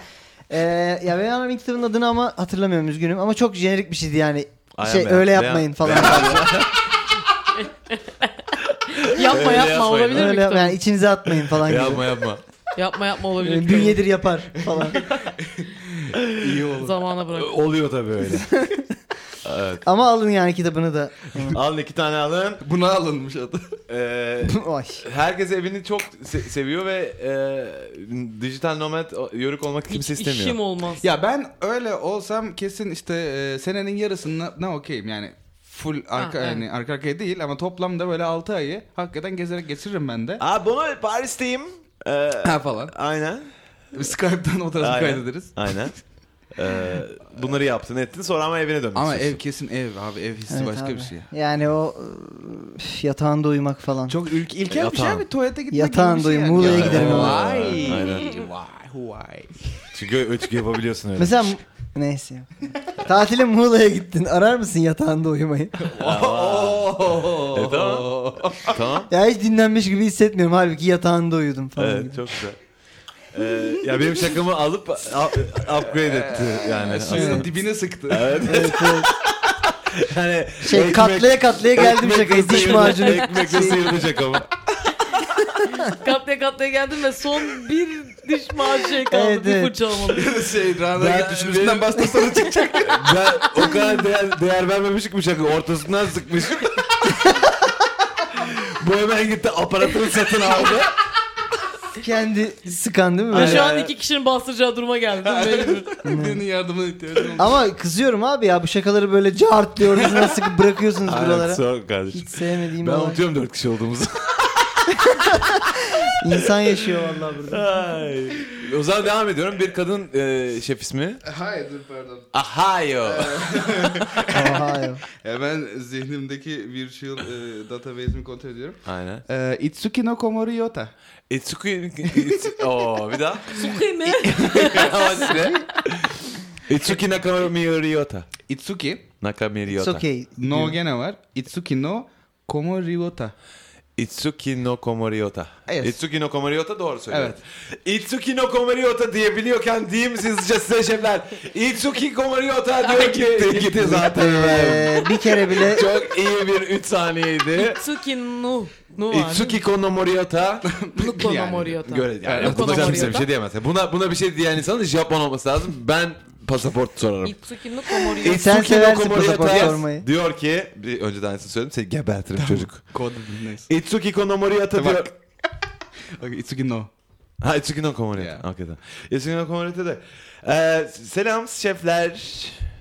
Ee, ya Beyan abinin kitabının adını ama hatırlamıyorum üzgünüm ama çok jenerik bir şeydi yani.
Aynen
şey
Beyan.
öyle
Beyan-
yapmayın falan.
Beyan abi.
yapma
Öyle
yapma
yapmayın.
olabilir mi
öyle
kitabın?
yani içinize atmayın falan gibi.
yapma yapma.
Yapma yapma olabilir
Yani
mi kitabın?
Bünyedir yapar falan.
İyi olur.
Zamana bırak.
Oluyor tabii öyle. evet.
ama alın yani kitabını da.
Alın iki tane alın.
Buna alınmış adı.
Ee,
Ay.
herkes evini çok se- seviyor ve e, dijital nomad o- yörük olmak kimse
Hiç işim
istemiyor.
olmaz.
Ya ben öyle olsam kesin işte e, senenin yarısına ne okeyim yani full arka
Ha, evet.
yani arka arkaya değil ama toplamda böyle 6 ayı hakikaten gezerek geçiririm ben de.
Aa bunu Paris'teyim. Ee,
Ha falan.
aynen.
Skype'dan o tarafı
Aynen.
kaydederiz.
Aynen. Ee, bunları yaptın ettin sonra ama evine dönmek
Ama
istiyorsun.
ev kesin ev abi ev hissi
Evet
başka
abi.
bir şey.
Yani o üf, yatağında uyumak falan.
Çok ülk, ilkel bir şey
Yatağın.
abi tuvalete gitmek
Yatağın
gibi bir şey
doyum,
yani.
Muğla'ya
Ya-
giderim ama.
Vay.
Aynen.
Vay. Vay.
Çünkü ölçü yapabiliyorsun öyle.
Mesela neyse. Tatile Muğla'ya gittin. Arar mısın yatağında uyumayı?
Oh.
E, tamam. tamam.
ya hiç dinlenmiş gibi hissetmiyorum. Halbuki yatağında uyudum falan. gibi.
Evet çok güzel. Ee, ya benim şakamı alıp up- upgrade etti yani.
Suyun
aslında.
dibine sıktı.
Evet, evet.
Yani
Şey
ekmek-
katlaya katlaya geldim
ekmekle
şakayı. Diş
sıyırdı-
macunu. Şey-
Ekmekle sıyırdı şakamı.
Katlaya katlaya geldim ve son bir diş maaşı şey kaldı.
Evet,
bir
evet.
fırça almadım.
şey Rana
Ben-
git düşünürsünden bastın sonra çıkacak.
Ben o kadar değer, değer vermemiş ki bıçakı ortasından sıkmış. Bu hemen gitti aparatını satın aldı.
Kendi sıkan değil mi?
Ha,
böyle?
şu an iki kişinin bastıracağı duruma geldim. Mecbur.
Birinin yardımına ihtiyacım oldu.
Ama kızıyorum abi ya bu şakaları böyle cart diyoruz nasıl sıkıp bırakıyorsunuz buralara.
Sor kardeşim.
Hiç sevmediğim
Ben
olay.
unutuyorum dört kişi olduğumuzu.
İnsan yaşıyor vallahi burada.
Ay. O zaman devam ediyorum. Bir kadın e, şef ismi.
Hayır dur pardon.
Ahayo.
Oha ya.
Ya ben zihnimdeki virtual e, database'imi kontrol ediyorum.
Aynen.
E, Itsuki no Komori Yota.
Itsuki... Itsuki- Oo bir daha.
Sokayım mı?
Ama ne? Itsuki Nakamura Yota.
Itsuki
Nakamura
It's
Yota.
okay.
no gene var. Itsuki no Komori Yota.
Itsuki no komoriyota.
Evet.
Itsuki no komoriyota doğru söylüyor. Itsuki no komoriyota diyebiliyorken diyeyim mi hızlıca size şefler? Itsuki komoriyota diyor ki gitti, zaten.
Ee, bir kere bile
Çok iyi bir 3 saniyeydi.
Itsuki nu. Nu var.
E, Itsuki konomoriyota.
Nu kono
Yani,
moriyota.
Göre yani
Evet.
yapılacak kimse bir
Komoriyota.
şey diyemez. Buna buna bir şey diyen insanın Japon olması lazım. Ben pasaport sorarım.
Itsuki nu kono moriyota.
Sen
Itsuki no
seversin pasaport
komoriyota
sormayı.
diyor ki bir önceden size söyledim seni gebertirim çocuk.
Kod neyse.
Itsuki konomoriyota
Bak.
diyor.
Okay, Itsuki no.
Ha Itsuki no Komorete.
Ya.
Hakikaten. Itsuki no Komorete de. Ee, selam şefler.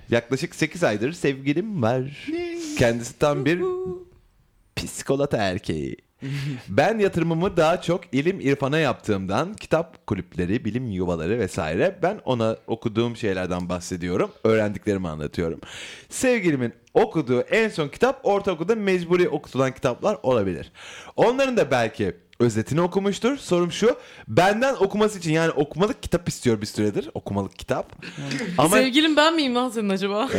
Yaklaşık 8 E, aydır sevgilim var. Kendisi tam bir psikolata erkeği. ben yatırımımı daha çok ilim irfana yaptığımdan kitap kulüpleri, bilim yuvaları vesaire ben ona okuduğum şeylerden bahsediyorum. Öğrendiklerimi anlatıyorum. Sevgilimin okuduğu en son kitap ortaokulda mecburi okutulan kitaplar olabilir. Onların da belki özetini okumuştur. Sorum şu. Benden okuması için yani okumalık kitap istiyor bir süredir. Okumalık kitap. Ama
E, Sevgilim ben miyim lan senin acaba?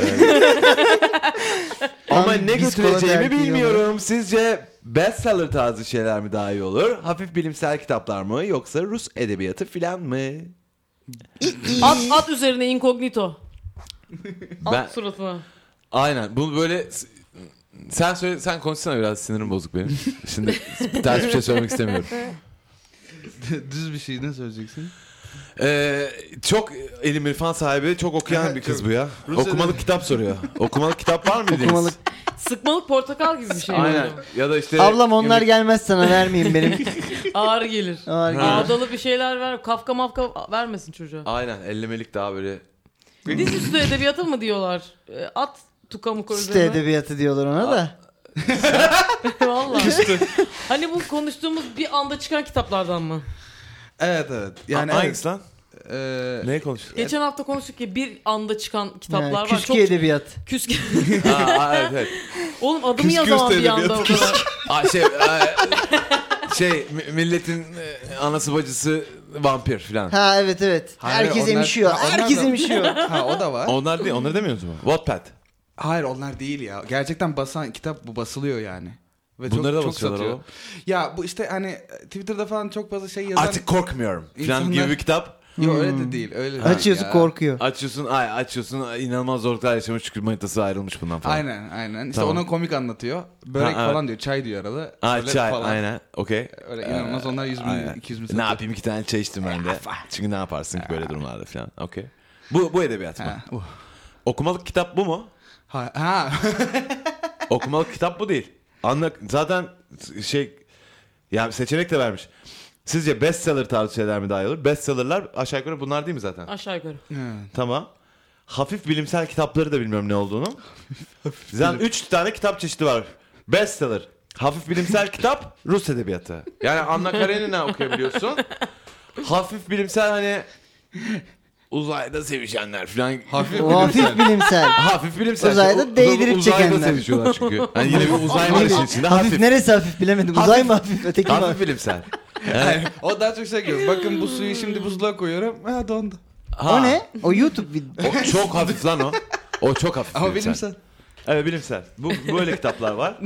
ama
Tam
ne
psikoloji
götüreceğimi
erkeği
bilmiyorum. Sizce bestseller tarzı şeyler mi daha iyi olur? Hafif bilimsel kitaplar mı yoksa Rus edebiyatı filan mı?
at, at üzerine inkognito. At
Ben-
suratına.
Aynen. Bunu böyle sen söyle sen konuşsana biraz sinirim bozuk benim. Şimdi ters bir şey söylemek istemiyorum.
Düz bir şey ne söyleyeceksin?
Ee, çok elim irfan sahibi, çok okuyan bir kız bu ya.
Rus
Okumalık kitap soruyor. Okumalık kitap var mı dediğiniz?
Okumalık.
Sıkmalık portakal gibi bir şey.
Aynen.
oldu.
Ya da işte
Ablam onlar gelmez sana vermeyeyim benim.
Ağır gelir.
Ağır gelir.
Ağdalı bir şeyler ver. Kafka mafka vermesin çocuğa.
Aynen ellemelik daha böyle
Dizüstü edebiyatı mı diyorlar? E, At tukamı
Site
üzerine.
edebiyatı diyorlar ona da.
Valla. hani bu konuştuğumuz bir anda çıkan kitaplardan mı?
Evet evet.
Yani
Yani evet.
lan?
Ee,
Neye konuştuk?
Geçen hafta konuştuk ki bir anda çıkan kitaplar
Yani
var.
küçük
Çok şey.
edebiyat.
küske.
Aa, evet evet.
Oğlum adımı
Küskü
yazamam
üstü
bir anda o
edebiyatı.
kadar.
Aa, şey, e, şey mi- milletin e, anası bacısı vampir filan.
Ha evet evet.
Hayır,
Herkes
onlar-
emişiyor.
Ha, onlar
Herkes
da-
emişiyor.
ha o da var.
Onlar değil, onları demiyoruz mu? Wattpad.
Hayır onlar değil ya. Gerçekten basan kitap bu basılıyor yani. Ve
Bunları da basıyorlar
satıyor.
oğlum.
Ya bu işte hani e, Twitter'da falan çok fazla şey yazan.
Artık korkmuyorum filan
İnsanlar-
gibi bir kitap.
Yo, öyle de değil. Öyle de değil
Açıyorsun
ya.
korkuyor.
Açıyorsun, ay açıyorsun ay, inanılmaz zorluklar yaşamış çünkü manitası ayrılmış bundan falan.
Aynen aynen. İşte
Tamam.
ona komik anlatıyor. Börek
Ha, evet.
falan diyor. Çay diyor arada.
Aa,
Öyle
çay,
falan.
aynen. Okey.
Öyle inanılmaz onlar 100 bin, 200 bin
Ne
satıyor.
yapayım iki tane çay içtim ben de. Çünkü ne yaparsın ki böyle durumlarda filan. Okey. Bu, bu edebiyat mı?
Ha, uh.
Okumalık kitap bu mu?
Ha, ha.
Okumalık kitap bu değil. Anla, zaten şey yani seçenek de vermiş. Sizce bestseller tarzı şeyler mi daha iyi olur? Bestsellerlar aşağı yukarı bunlar değil mi zaten?
Aşağı yukarı.
tamam. Hafif bilimsel kitapları da bilmiyorum ne olduğunu. zaten üç tane kitap çeşidi var. Bestseller, hafif bilimsel kitap, Rus edebiyatı. Yani Anna Karenina okuyabiliyorsun. hafif bilimsel hani uzayda sevişenler falan.
Hafif
O hafif bilimsel.
Hafif bilimsel.
Uzayda
U-
değdirip
uzayda
çekenler.
sevişiyorlar çünkü. Yani yine bir uzay var işin içinde. Hafif.
hafif neresi hafif bilemedim. Uzay mı hafif öteki mi
Hafif
hafif?
bilimsel.
Aynen. o daha çok şey gibi. Bakın bu suyu şimdi buzluğa koyuyorum. Ha dondu.
Ha.
O ne? O YouTube video.
O çok hafif lan o. O çok hafif.
Ama bilimsel.
Evet bilimsel. Bu böyle kitaplar var.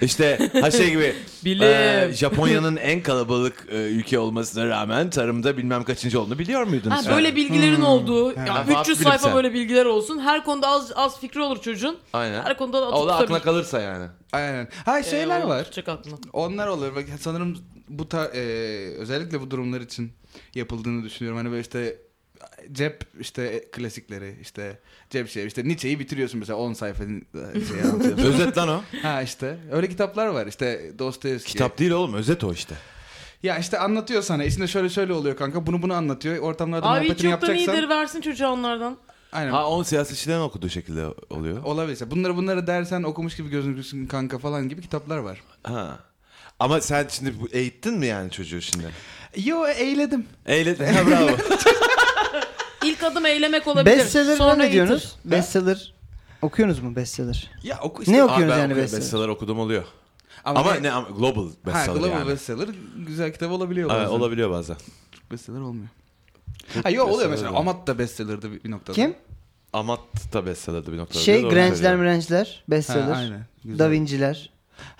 İşte ha şey gibi.
Bilim.
e, Japonya'nın en kalabalık e, ülke olmasına rağmen tarımda bilmem kaçıncı olduğunu biliyor muydunuz?
Ha, böyle bilgilerin olduğu, ya
Ha,
300
bilimsel.
sayfa böyle bilgiler olsun. Her konuda az az fikri olur çocuğun.
Aynen.
Her konuda da atıp
O da aklına
tutabilir.
kalırsa yani.
Aynen. Ha şeyler
Ee, o
var.
Tutacak aklına.
Onlar olur. Bak sanırım bu tar- e, özellikle bu durumlar için yapıldığını düşünüyorum. Hani böyle işte cep işte klasikleri işte cep şey işte Nietzsche'yi bitiriyorsun mesela 10 sayfanın şey anlatıyorsun.
Özet lan o.
ha işte öyle kitaplar var işte Dostoyevski.
Kitap değil oğlum özet o işte.
Ya işte anlatıyor sana içinde şöyle şöyle oluyor kanka bunu bunu anlatıyor ortamlarda
Abi hiç
muhabbetini
yoktan
yapacaksan.
iyidir versin çocuğa onlardan.
Aynen.
Ha on siyasetçilerin okuduğu şekilde oluyor.
Olabilir. Bunları bunları dersen okumuş gibi gözükürsün kanka falan gibi kitaplar var.
Ha. Ama sen şimdi bu eğittin mi yani çocuğu şimdi?
Yo eğledim.
Eğiledin. Ha bravo.
İlk adım eylemek olabilir.
Bestseller ne
itir.
diyorsunuz? Bestseller okuyorsunuz mu bestseller?
Ya oku
Ne
Abi ben
okuyorsunuz yani
okuyorum,
bestseller?
bestseller okudum oluyor. Ama, ne ama global
Ha,
bestseller
global
yani.
bestseller güzel kitap olabiliyor
Ha,
bazen.
olabiliyor bazen.
Türk bestseller olmuyor. ha yok oluyor mesela. Amat da bestseller'dı bir bir noktada.
Kim?
Amat da bestsellerdi bir noktada.
Şey
Doğru
Grange'ler
söylüyorum.
Mrange'ler
Ha,
bestseller.
aynen. Güzel.
Da Vinci'ler.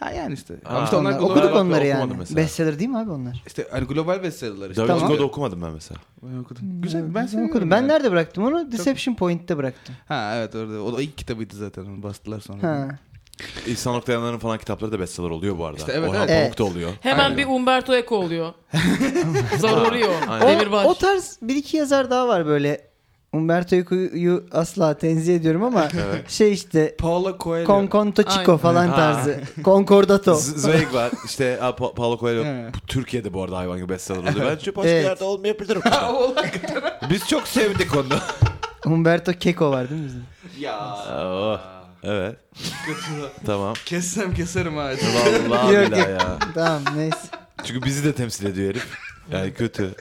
Ha yani işte.
Ha.
Ama işte onlar
Onlar-
global,
okuduk
Ben
onları
okumadım
yani.
mesela.
Bestseller değil mi abi onlar?
işte hani global bestseller'lar işte.
Da Vinci
Tamam.
Code'u okumadım ben mesela.
Ben okudum. Güzel ben seni
okudum. Ben nerede bıraktım onu? Deception Point'te bıraktım.
Ha evet orada. O da ilk kitabıydı zaten. Onu bastılar sonra.
Ha.
İhsan Oktayanların falan kitapları da bestseller oluyor bu arada.
İşte evet,
Orhan
evet.
Pamuk da oluyor.
Hemen
Aynen.
bir Umberto Eco oluyor. Zaruri o.
Aynen.
Demirbaş.
O tarz bir iki yazar daha var böyle. Umberto Eco'yu asla tenzih ediyorum ama şey işte
Paolo Coelho.
Concordo Chico
Aynen.
falan
Ha.
tarzı. Concordato.
Z- Zweig var. İşte ha, Pa- Paulo Coelho.
Evet.
Bu Türkiye'de bu arada hayvan gibi bestseller oluyor. Bence başka
Evet.
yerde olmayabilir.
Ha, o
Biz çok sevdik onu.
Umberto Keko var değil mi bizde?
ya.
Oh. Evet. tamam.
Kessem keserim ha.
Vallahi
Yok,
billahi
yok.
ya.
Tamam neyse.
Çünkü bizi de temsil ediyor herif. Yani kötü.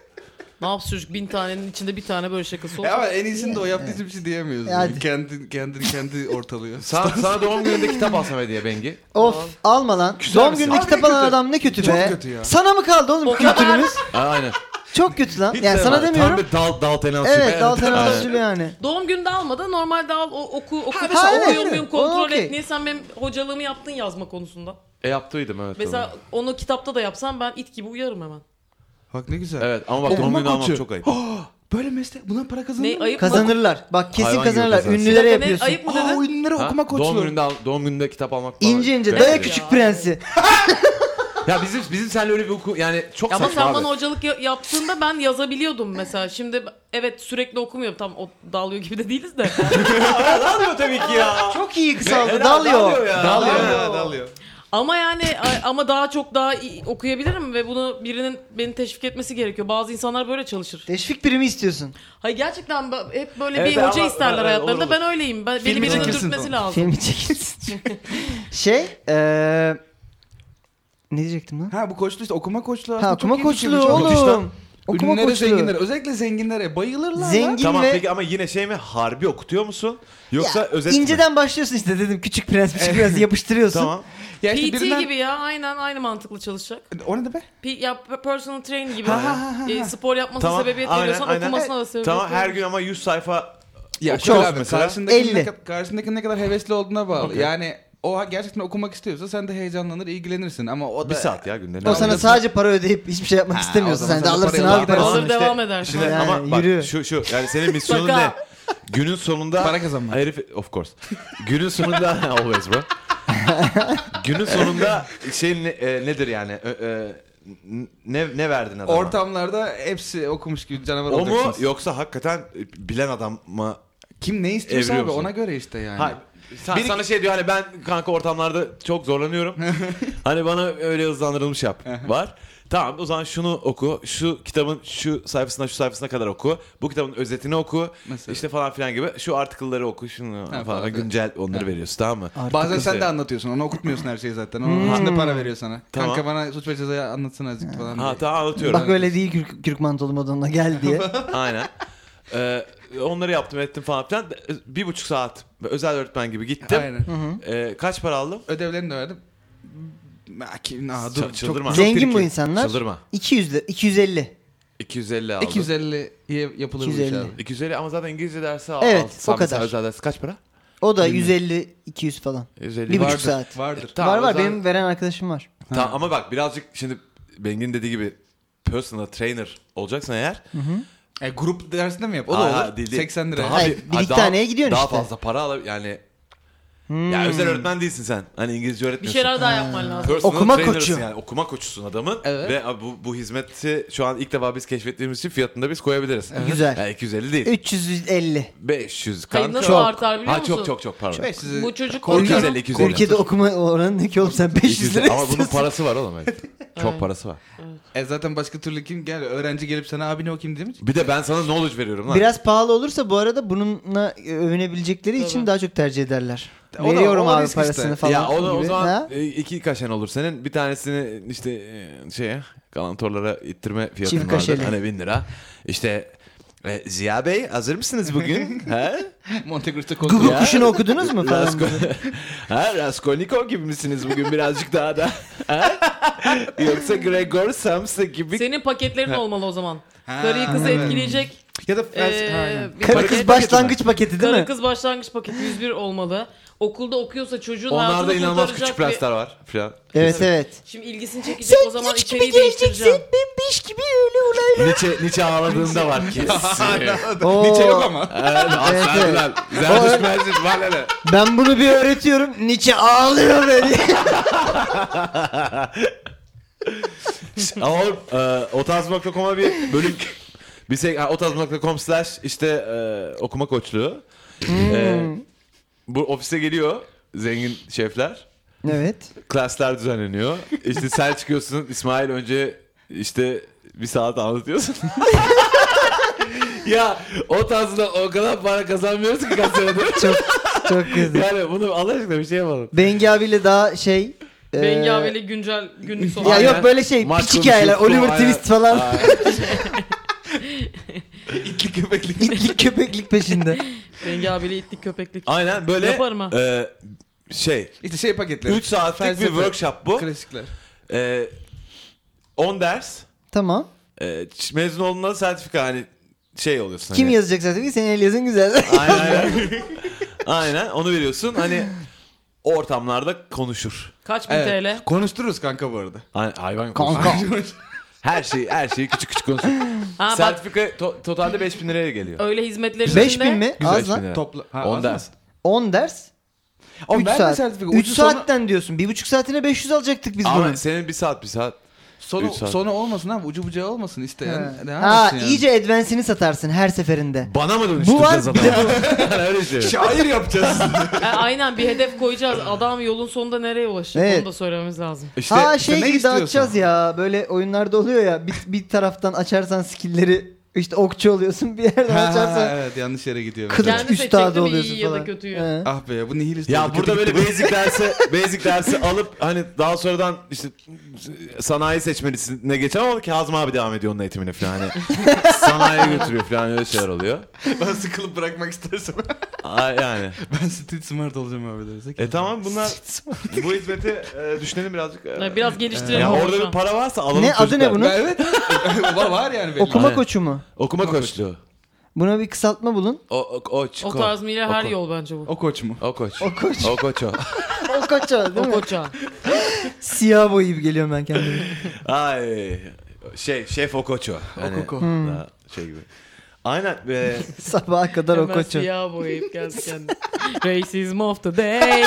Ne yapsın çocuk bin tanenin içinde bir tane böyle şakası
Ya
olacak.
ama en iyisini de o yaptığı için bir şey diyemiyoruz.
E, hadi.
Kendi, kendini kendi ortalıyor.
Sana, sana doğum gününde kitap alsam hediye Bengi.
Of alma lan.
Küser
Doğum
misin?
gününde
Abi
kitap
ne
alan
kötü.
adam ne kötü
Çok
be.
kötü ya.
Sana mı kaldı oğlum kültürümüz?
Aynen.
Çok kötü lan.
Hiç
Yani sana
sevmem.
demiyorum.
Tam bir dal, dal tenası.
Evet dal tenasülü
Aynen.
yani.
Doğum günde alma da normalde al o, oku oku.
mesela
Ha,
evet,
okuyor
evet.
muyum
O
kontrol
okey.
et. Niye sen benim hocalığımı yaptın yazma konusunda?
E yaptıydım evet.
Mesela
Mesela...
onu kitapta da yapsam ben it gibi uyarım hemen.
Bak ne güzel.
Evet ama bak
Okuma
doğum günü almak
koçu.
çok ayıp.
Böyle meslek bundan para kazanır
Ne
mı?
ayıp mı?
Kazanırlar. Bak kesin
Hayvan gibi
kazanırlar.
kazansın.
Ünlülere
Bir dakika, ne-
yapıyorsun.
ayıp mı
Aa,
dedin?
ünlülere
Ha,
okuma
Doğum
koçluğu.
gününde, al- doğum gününde kitap almak falan.
İnce ince.
garip
Daya
bir şey.
küçük
ya.
prensi.
Ya bizim bizim seninle öyle bir huku yani çok
Ama
saçma
sen
abi.
bana hocalık ya- yaptığında ben yazabiliyordum mesela. Şimdi evet sürekli okumuyorum. Tam o dalıyor gibi de değiliz de.
Dalıyor tabii ki ya.
Çok iyi kısaldı.
Helal,
Dalıyor.
ya.
Dalıyor.
Aynen.
Ha, dalıyor.
ama yani a- ama daha çok daha iyi okuyabilirim ve bunu birinin beni teşvik etmesi gerekiyor. Bazı insanlar böyle çalışır.
Teşvik birimi istiyorsun.
Hayır gerçekten ba- hep böyle
Evet,
bir hoca
ama-
isterler
evet,
hayatlarında.
olur,
Ben öyleyim. Ben, beni
Filmi
birinin
çekilsin
dürtmesi
falan.
lazım.
Filmi çekilsin. şey. eee ne diyecektim lan?
Ha bu koçlu işte okuma koçluğu
Ha,
aslında
okuma
çok iyi bir şey.
koçluğu
Çok müthiş lan.
oğlum. Okuma
Ünlülere, zenginlere,
koçluğu.
özellikle zenginlere bayılırlar
Zengin
Tamam
ve...
peki ama yine şey mi harbi okutuyor musun? Yoksa
Ya,
özet mi?
İnceden başlıyorsun işte dedim küçük prens küçük prens yapıştırıyorsun.
Tamam.
Ya
PT
işte birinden-
gibi ya aynen aynı mantıklı çalışacak.
O ne de be?
P- ya p- personal train gibi.
Ha, ha, ha, ha.
E, spor yapmasına
Tamam.
sebebiyet
aynen,
veriyorsan
aynen. E,
okumasına da sebebiyet
Tamam her
veriyorsun.
gün ama 100 sayfa
Ya
Okuyoruz
şöyle abi
mesela.
karşındaki
50.
ne, ka- karşındaki ne kadar hevesli olduğuna bağlı.
Okey.
Yani o ha- gerçekten okumak istiyorsa sen de heyecanlanır, ilgilenirsin ama o da...
bir saat ya günde. ne
O
var?
sana
Anlıyorsun.
sadece para ödeyip hiçbir şey yapmak
Ha,
istemiyorsun.
o zaman
Sen de
sen de
alırsın
parayı
abi
al.
parasını.
Alır
işte-
devam eder.
Şimdi
Yani
ama bak
yürü.
şu şu yani senin misyonun ne?
Şaka.
Günün sonunda
Para kazanmak.
Herif of course. Günün sonunda always bro. Günün sonunda şey ne- e, nedir yani? Ö- ö, ne ne verdin adama?
Ortamlarda hepsi okumuş gibi canavar
o mu
olacaksınız.
yoksa hakikaten bilen adam mı?
Kim ne istiyorsa
Evriyor
abi
musun?
ona göre işte yani.
Ha, sen,
Bir-
sana şey diyor hani ben kanka ortamlarda çok zorlanıyorum. hani bana öyle hızlandırılmış yap. Var. Tamam o zaman şunu oku. Şu kitabın şu sayfasına şu sayfasına kadar oku. Bu kitabın özetini oku.
Mesela.
İşte falan filan gibi. Şu article'ları oku. Şunu falan,
falan filan.
güncel onları veriyorsun tamam mı?
Bazen
Mesela.
sen de anlatıyorsun. Ona okutmuyorsun her şeyi zaten. Onun içinde para veriyor sana.
Tamam.
Kanka bana suç ve cezayı anlatsana azıcık falan.
Ha
diye.
tamam anlatıyorum.
Bak öyle değil kürk, kürk mantolu moduna gel diye.
Aynen. Ee, onları yaptım ettim falan filan. Bir buçuk saat özel öğretmen gibi gittim.
Aynen.
Ee, kaç para aldım?
Ödevlerini de verdim. Ha, kim- ha, dur,
Ç- çıldırma.
çok- çok
Zengin bu
tricky.
insanlar.
Çıldırma.
200 lira, 250.
250 aldım.
250 ye yapılır bu iş
250.
abi.
250 ama zaten İngilizce dersi al.
Evet,
alsam
o kadar.
mesela Özel ders kaç para?
O da 150 200 falan.
150.
Bir buçuk
Vardır.
saat.
Vardır.
E, Tamam,
var
o
var
zaman-
benim veren arkadaşım var.
Tamam ama bak birazcık şimdi Bengi'nin dediği gibi personal trainer olacaksın eğer.
E, grup dersinde mi yap? O
Aa,
da olur.
değil, değil.
80 lira.
Hayır,
bir-
bir iki
daha-
taneye gidiyorsun
daha
işte. Hmm.
fazla para al yani. Ya özel öğretmen değilsin sen. Hani İngilizce
Bir
öğretmiyorsun.
şeyler daha yapman lazım.
Personal
Okuma
trainer'sın
koçu.
Yani. Okuma koçusun adamın.
Evet.
Ve abi bu, bu hizmeti şu an ilk defa biz keşfettiğimiz için fiyatında biz koyabiliriz.
Güzel.
Yani 250 değil.
350.
500
Hayır,
kanka.
nasıl artar biliyor
ha,
musun?
çok çok çok pardon.
Sizi-
Bu
Korkuyorum.
çocuk korkuyor.
250, 250.
Ülkede okuma oranı ne ki oğlum sen 500 lira
Ama bunun
istiyorsun.
parası var oğlum. evet. çok
Evet.
parası var.
E zaten başka türlü kim gel öğrenci gelip sana abi ne okuyayım demiş.
Bir de ben sana knowledge veriyorum lan.
Biraz pahalı olursa bu arada bununla e, övünebilecekleri için
Tabii.
daha çok tercih ederler.
O da-
Veriyorum
o
abi
risk işte.
parasını falan
ya o, da-
gibi.
o zaman
Ha?
e, iki kaşen olur senin. Bir tanesini işte e, şeye kalantorlara ittirme fiyatın
Çift
vardır.
kaşeli.
Hani bin lira. İşte e, Ziya Bey hazır mısınız bugün? ha?
Monte Cristo
Google
Ya.
kuşunu okudunuz mu falan?
Rasko... ha, Raskolnikov gibi misiniz bugün birazcık daha da? Ha? Yoksa Gregor Samsa gibi
Senin paketlerin olmalı o zaman.
Ha,
Karıyı kızı
evet.
etkileyecek.
Ya da
Ee,
fels- ha, aynen.
bir
Karı
paket-
kız başlangıç paketi değil
Karı
mi?
kız başlangıç paketi 101 olmalı. Okulda okuyorsa çocuğun
Onlarda
hayatını
inanılmaz
kurtaracak
küçük
bir-
prensler var filan.
Evet evet.
Şimdi ilgisini çekecek o zaman içeriği değiştireceğim.
ben beş gibi öyle olaylar.
Nietzsche, Nietzsche ağladığında var ki.
Oo.
Nietzsche şey yok ama.
Evet, evet.
Zerdüşt Merzit var hele.
Ben bunu bir öğretiyorum. Nietzsche ağlıyor beni.
Ama oğlum e, otazm.com'a bir bölüm bir şey ha, otazm.com slash işte e, okuma koçluğu. E, bu ofise geliyor zengin şefler.
evet.
Klaslar düzenleniyor. İşte sen çıkıyorsun İsmail önce işte bir saat anlatıyorsun. ya o tarzda o kadar para kazanmıyoruz ki kasada.
Çok Çok kötü.
Yani bunu Allah aşkına bir şey yapalım.
Bengi abiyle daha şey. e,
Bengi abiyle güncel günlük sohbet.
Ya
Aynen.
yok böyle şey
Maç
piç hikayeler.
konuşuyoruz,
Oliver
aynen.
Twist falan.
İtlik köpeklik.
İtlik köpeklik peşinde.
Bengi abiyle itlik köpeklik.
Aynen böyle
Yaparım ha.
e, şey
İşte şey paketleri.
3 saatlik
Felsefe.
bir workshop bu.
Klasikler.
E, 10 ders.
Tamam.
E, ç- mezun olduğunda sertifika hani şey oluyorsun.
Kim
hani.
yazacak zaten? Senin el yazın güzel.
Aynen. aynen. Aynen, onu veriyorsun. Hani ortamlarda konuşur.
Kaç bin
Evet.
TL?
Konuştururuz kanka bu arada.
Ay- Hayvan konuşur.
Kanka.
Her şeyi her şeyi küçük küçük konuşur.
Ha bak
sertifika to- totalde 5000 liraya geliyor.
öyle hizmetlerin içinde.
5000 mi?
Güzel
Az
şimdi.
lan.
Topla. Ha,
10
az
ders.
10 ders.
Oğlum
3
verme
saat.
sertifika.
3
Ucu sonu-
saatten diyorsun. 1,5 saatine 500 alacaktık biz bunu.
Ama senin bir saat bir saat.
Sonu,
Üç saat.
sonu olmasın abi. Ucu bucağı olmasın isteyen.
Ha,
Devam
Ha,
etsin yani.
iyice advance'ini satarsın her seferinde.
Bana mı
Bu var
dönüştüreceğiz
bir de bu.
Yani öyle şey.
Şair yapacağız.
E, aynen bir hedef koyacağız. Adam yolun sonunda nereye ulaşacak?
Evet.
Onu da söylememiz lazım.
İşte
Ha
işte
şey
ne
gibi
istiyorsan.
dağıtacağız ya. Böyle oyunlarda oluyor ya. Bir, bir taraftan açarsan skill'leri işte okçu oluyorsun. Bir yerden
Ha, ha,
açarsan
ha, evet yanlış yere gidiyor.
kılıç
Kendi
üstadı
seçecektim iyi
oluyorsun
ya da
falan.
kötüyü.
He.
Ah be bu nihilist.
Ya
oldu,
burada
kötü
böyle
gitti bu.
basic dersi basic dersi alıp hani daha sonradan işte sanayi seçmelisine geçer ama ki Hazım abi devam ediyor onun eğitimine falan. Hani sanayiye götürüyor falan öyle şeyler oluyor.
ben sıkılıp bırakmak istersem.
Aa, yani.
ben street smart olacağım abi dersek.
E tamam bunlar bu hizmeti e, düşünelim birazcık. E,
Yani Biraz geliştirelim.
ya
onu
orada
şu
bir
an.
para varsa alalım.
Ne, adı
çocuklar.
ne bunun?
Ben, evet. var, var yani belli.
Okuma
Aynen.
koçu mu?
Okuma koçluğu.
Buna bir kısaltma bulun.
O, o, koç,
O
ko.
tarz mile her
Oku.
yol bence bu.
O koç mu?
O koç.
O koç.
O koç o.
O koça
O
değil mi?
koça.
Siyah boyayıp geliyorum ben kendimi.
Ay şey şef o koç o. Hani
Okoko.
daha
Hmm.
şey gibi. Aynen. E,
Sabaha kadar o
Hemen
koça.
siyah boyayıp geldi kendi. Racism of the day.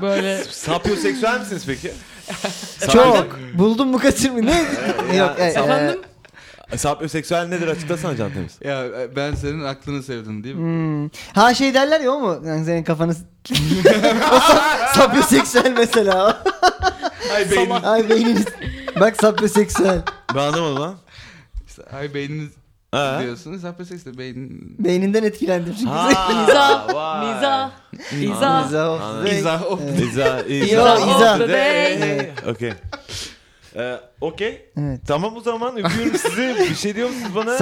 Böyle
sapyoseksüel misiniz peki?
Çok. Buldum bu kaçırmayı. Ne? Yok. e, e,
efendim
Sapyoseksüel nedir açıklasana Can Temiz.
Ya e, ben senin aklını sevdim değil mi?
Hmm. Ha şey derler ya o mu? Yani senin kafanı... o sap, sapyoseksüel mesela.
Ay beyniniz.
Ay beyniniz. Bak sapyoseksüel.
Ben anlamadım lan.
Ay beyniniz
Ha.
diyorsunuz. Hapeseks de beynin.
Beyninden etkilendim çünkü.
mizah,
vay.
mizah, izah.
İza
Anladım.
of the-
İzah o.
Evet.
İza,
İza, İza.
Okey. Ee, Okey.
Evet.
Tamam o zaman öpüyorum sizi. Bir şey diyor musunuz bana?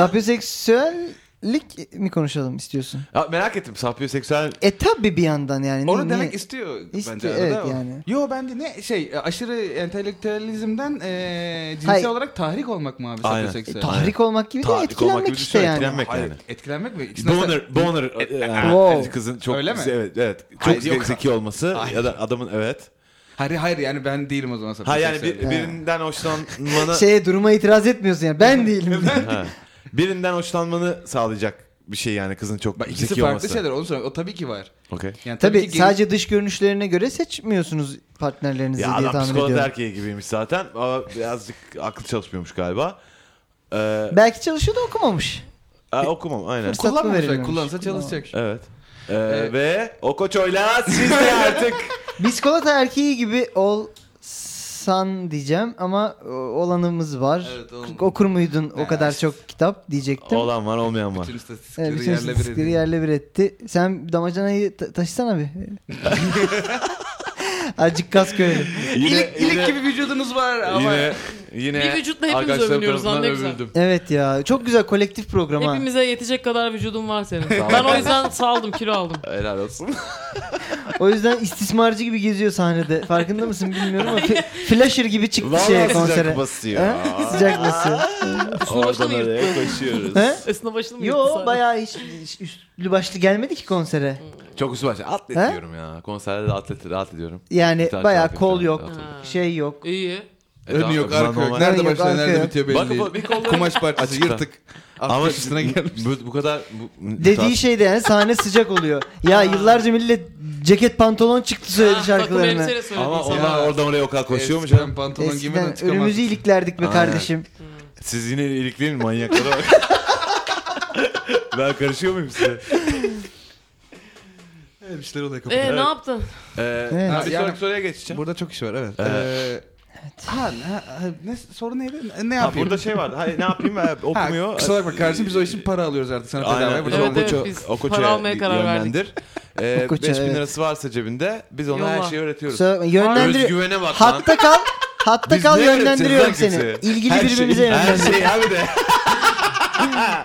Sapyoseksüellik mi konuşalım istiyorsun?
Ya, merak ettim. Sapyoseksüel
E tabi bir yandan yani. Ne-
Onu
ne-
demek istiyor bence
İstiyor,
arada.
evet
o.
yani.
Yo ben de ne şey aşırı entelektüelizmden e, cinsel
Hayır.
olarak tahrik olmak mı abi?
Aynen.
sapyoseksüel?
E, tahrik olmak gibi de
Tahrik olmak
etkilenmek
gibi
işte
düşünüyorum,
yani.
etkilenmek
Hayır,
yani.
Etkilenmek mi? İkisini
Boner, boner e, yani
Wow.
kızın çok
Öyle mi?
evet evet çok
Hayır, yok.
zeki olması
Hayır.
ya da adamın evet.
Hayır hayır yani ben değilim o zaman
Ha yani
sapyoseksüel.
bir- birinden hoşlanmanı
Şeye duruma itiraz etmiyorsun yani. Ben değilim.
Ha. birinden hoşlanmanı sağlayacak bir şey yani kızın çok
Bak ikisi
zeki
farklı
olması.
şeyler onu söylüyorum. O tabii ki var.
Okey.
Yani
tabi
ki geri-
sadece dış görünüşlerine göre seçmiyorsunuz partnerlerinizi
Ya
diye
adam
tahmin
psikolog
ediyorum.
erkeği gibiymiş zaten ama birazcık aklı çalışmıyormuş galiba. Ee,
Belki çalışıyor da okumamış.
e, okumam aynen.
Fırsat mı
kullanmayacak.
verilmemiş?
Kullansa çalışacak.
Evet. Ee,
Evet.
Ve o koçoyla siz de artık
Biskolata erkeği gibi olsan diyeceğim ama o- olanımız var.
Evet, oğlum.
Okur muydun o
Evet.
kadar çok kitap diyecektim.
olan var olmayan var.
Bütün
Evet, şey
istatistikleri
bütün
yerle bir
istatistikleri
edeyim.
yerle bir etti. Sen damacanayı ta- taşısana bir. Acık kas köylü.
İlik, ilik gibi vücudunuz var ama.
yine, yine
Bir vücutla hepimiz
arkadaşlarım
övünüyoruz lan, ne
tarafından
güzel.
övüldüm.
Evet ya çok güzel kolektif program ha.
Hepimize yetecek kadar vücudum var senin.
ol.
Ben o yüzden saldım, kilo aldım.
Helal olsun.
Şey,
O yüzden istismarcı gibi geziyor sahnede. Farkında mısın bilmiyorum ama fi- flasher gibi çıktı
Vallahi
şeye
sıcak
konsere.
basıyor.
Ha? Sıcak basıyor.
Oradan
mı yırttın?
oraya koşuyoruz.
He?
Üstüne başını mı yırttı
Yo
sadece?
bayağı hiç, hiç üstlü başlı gelmedi ki konsere.
Çok üstü başlı. Atlet
He?
diyorum ya. Konserde de atlet, rahat ediyorum.
Yani
Gitar
bayağı
çalıyor,
kol
gitar
yok,
çalıyor.
Ha.
şey yok.
İyi.
E,
Önü
tamam,
yok,
bunlar
arka yok.
normal.
Nerede
Yok,
başlıyor,
arka
nerede
yok.
bitiyor
Bak,
belli
bak, bir
değil.
kolları-
Kumaş parçası
Açıkta.
yırtık.
Ama
Ama üstüne gelmiş.
bu, bu kadar bu,
Dediği şeyde yani sahne sıcak oluyor. Ya yıllarca millet ceket pantolon çıktı söyledi
Ah, Takım
şarkılarını.
elbiseyle söyledi
ama
insanlar.
onlar
şey Ya.
oradan oraya o kadar koşuyor mu
Eskiden
canım?
pantolon giymeden
Eskiden
çıkamaz.
önümüzü iliklerdik be
Aynen.
kardeşim.
Siz yine ilikleyin manyaklara bak. ben karışıyor muyum size?
Evet, bir şeyler oluyor
Ee,
kafada.
ne yaptın?
Ee,
Evet.
bir
Yani-
sonraki soruya geçeceğim.
Burada çok iş var evet.
Evet.
Ee, Ha, ne- ha, ne, soru neydi? Ne- Ne
Ha,
yapayım?
burada şey vardı. Hayır, ne yapayım? Ha, Okumuyor.
Ha, kusura bakma kardeşim biz o işin para alıyoruz artık sana
Aynen.
bedava.
o
Bu da
Evet,
oldu.
evet. biz para almaya karar verdik.
Ee,
Okoça,
5000
evet.
lirası varsa cebinde biz ona her
Yolla.
şeyi öğretiyoruz.
Kusura- Yönlendiriyor.
Özgüvene bak lan.
Hatta kal. Hatta
Biz
kal
ne
yönlendiriyorum
öğretiriz
seni.
lan kimseye?
İlgili
Her
birbirimize
şey, Her
yönlendiriyoruz.
şey abi de.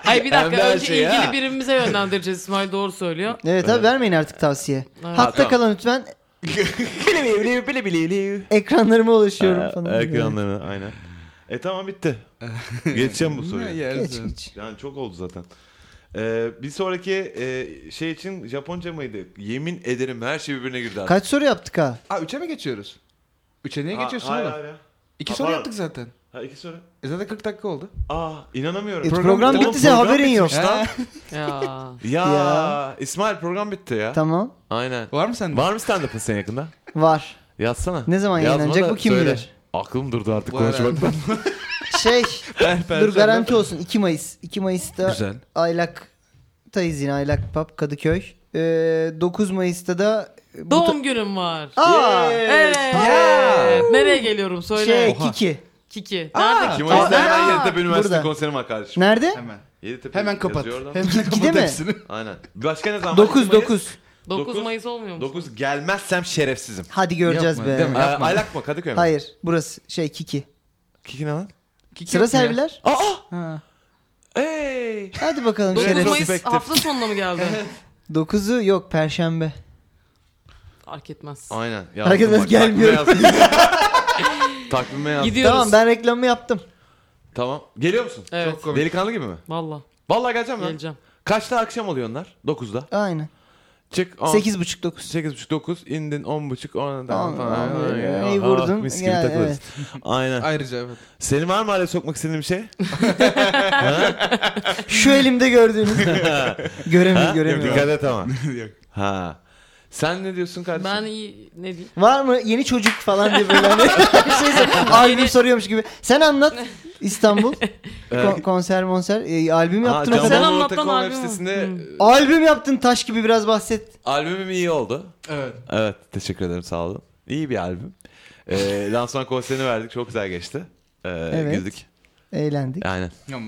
Ay bir
Hem de
dakika
her
önce
şey,
ilgili
ha.
birimize yönlendireceğiz. İsmail doğru söylüyor.
Evet abi vermeyin artık tavsiye.
Ha,
Hatta
tamam.
kalın lütfen. Ekranlarıma ulaşıyorum falan.
Ekranlarına aynen. E tamam bitti. Geçeceğim bu
Ha,
soruyu.
yersin.
Geç geç.
Yani çok oldu zaten. Ee, bir sonraki e, şey için Japonca mıydı? Yemin ederim her şey birbirine girdi. artık.
Kaç soru yaptık ha?
Aa üçe mi geçiyoruz? Üçe niye
Ha,
geçiyorsun
hayır,
oğlum?
hayır, hayır.
İki
Ha,
soru
pardon.
yaptık zaten.
Ha, iki soru.
E zaten 40 dakika oldu.
Aa inanamıyorum.
E, program,
Program-
bitti senin
Program
haberin yok.
bitmiş lan.
Ya.
Ya,
Ya.
İsmail program bitti ya.
Tamam.
Aynen.
Var mı sende?
Var mı stand-up'ın senin yakında?
Var.
Yazsana.
Ne zaman
Yazma
yayınlanacak
da
bu kim
söyle.
bilir?
Aklım durdu artık
Bu ara-
konuşmaktan.
Şey
Perşembe.
dur garanti olsun 2 Mayıs. 2 Mayıs'ta
Güzel.
Aylak'tayız yine Aylak Pub Kadıköy. Ee, 9 Mayıs'ta da bu
Doğum günüm var.
ta- Aa,
Evet. Nereye geliyorum söyle.
şey Kiki.
Kiki. Nerede?
Kim o
Aa,
yüzden
aa,
hemen Yeditepe Üniversitesi
burada.
konserim var kardeşim.
Nerede?
Hemen.
Yeditepe
Hemen kapat.
yazıyor oradan.
Hemen kapat
mi?
hepsini.
Aynen. Başka ne zaman?
9 9.
9
Dokuz-
Mayıs olmuyor mu?
9 gelmezsem şerefsizim.
Hadi göreceğiz
Yapma,
be.
değil mi?
Ee,
Yapma.
Aylak mı? Kadıköy mü?
Hayır burası şey Kiki.
Kiki ne lan?
Kiki
Sıra
yok mu ya?
serviler.
Aa!
Ha.
Ey!
Hadi bakalım
9
şerefsiz.
Mayıs hafta sonuna mı geldi?
9'u yok perşembe.
Fark etmez.
Aynen. yazdım
Herkes
bak,
gelmiyor.
Takvime yazdım. Takvime yazdım.
Gidiyoruz.
Tamam ben reklamımı yaptım.
Tamam. Geliyor musun?
Evet.
Çok komik.
Delikanlı gibi mi?
Valla
Vallahi geleceğim lan.
geleceğim.
Kaçta akşam oluyor onlar? 9'da.
Aynen.
Çık. 10.
8.30 9.
8.30 9 indin 10.30 10
Tamam,
tamam falan.
tamam.
Aynen.
Neyi
Ah,
vurdun?
Mis gibi
Yani,
takılırız. Aynen.
Ayrıca evet.
Senin var mı araya sokmak istediğin bir şey?
Şu elimde gördüğünüz. göremiyor
Ha? Yok,
göremiyor.
dikkat et ama.
Yok.
ha. Sen ne diyorsun kardeşim?
Ben iyi ne diyeyim?
Var mı yeni çocuk falan diye böyle hani şeyse albüm soruyormuş gibi. Sen anlat İstanbul Ko- konser monser e, albüm yaptın o
Can
kadar.
Sen anlat
Ortaköy
lan albümü.
Üniversitesi'nde e,
Albüm yaptın taş gibi biraz bahset.
albümüm iyi oldu.
Evet.
Evet teşekkür ederim sağ olun. İyi bir albüm. Ee, lansman konserini verdik çok güzel geçti. Ee,
Evet.
Güldük.
Eğlendik.
Aynen.
Ama,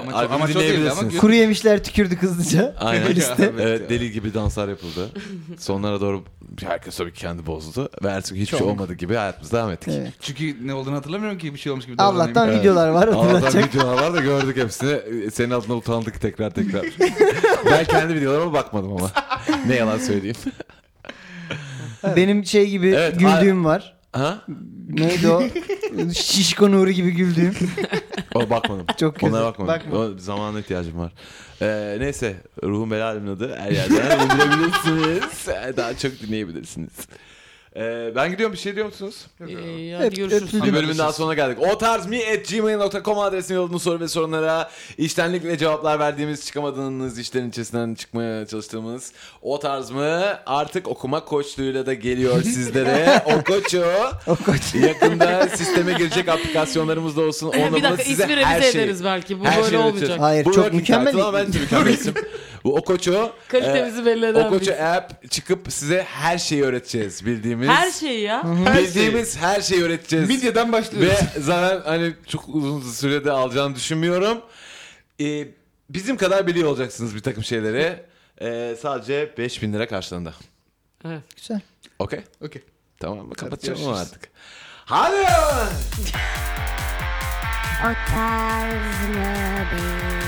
ama, çok,
Albümü
ama çok iyiydi ama
dinleyebilirsiniz.
gö-
Kuru yemişler tükürdü hızlıca.
Aynen.
Liste.
evet, deli gibi danslar yapıldı. Sonlara doğru herkes tabii ki kendi bozdu. Ve artık hiçbir şey
Çok.
olmadı gibi hayatımıza devam ettik.
Evet.
Çünkü ne olduğunu hatırlamıyorum ki bir şey olmuş gibi.
Allah'tan
davranayım.
videolar var
Allah'tan
hatırlatacak.
videolar var da gördük hepsini. Ee, Senin adına utandık tekrar tekrar. ben kendi videolarıma bakmadım ama. Ne yalan söyleyeyim.
Benim şey gibi
Evet,
güldüğüm var.
Ha?
Neydi o? Şişko Nuri gibi güldüğüm.
O bakmadım.
Çok kötü.
Onlara bakmadım.
Bakma.
O zamana ihtiyacım var. Ee, neyse. Ruhum Bela albümün adı. Her yerden indirebilirsiniz. Ee, Daha çok dinleyebilirsiniz. Ee, ben gidiyorum. Bir şey diyor musunuz?
Ee,
Öp-
hadi görüşürüz.
öpüldüm.
Bir bölümün daha sonuna geldik. O tarz mi at gmail.com adresine yolladığınız soru ve sorunlara içtenlikle cevaplar verdiğimiz çıkamadığınız işlerin içerisinden çıkmaya çalıştığımız o tarz mı artık okuma koçluğuyla da geliyor sizlere. o koçu
O koç.
yakında sisteme girecek aplikasyonlarımız da olsun. Onunla
bir
bununla
dakika
size
ismi
her
revize
şeyi-
ederiz belki. Bu
her
böyle
şeyi
olmayacak.
öğreteceğiz.
Hayır, çok
working
mükemmel
title ama
isim.
bence mükemmel isim. Bu Okoço.
Kalitemizi belli
e,
eden
Okoço
biz.
app çıkıp size her şeyi öğreteceğiz bildiğimiz.
Her şeyi ya.
Bildiğimiz her şeyi öğreteceğiz.
Videodan
Ve
başlıyoruz.
zaten hani çok uzun sürede alacağını düşünmüyorum. Ee, bizim kadar biliyor olacaksınız bir takım şeyleri. Ee, sadece 5000 lira karşılığında.
Evet.
Güzel.
Okey?
Okey.
Tamam mı? Kapatacağım
görüşürüz.
artık. Hadi!
O tarz mı bir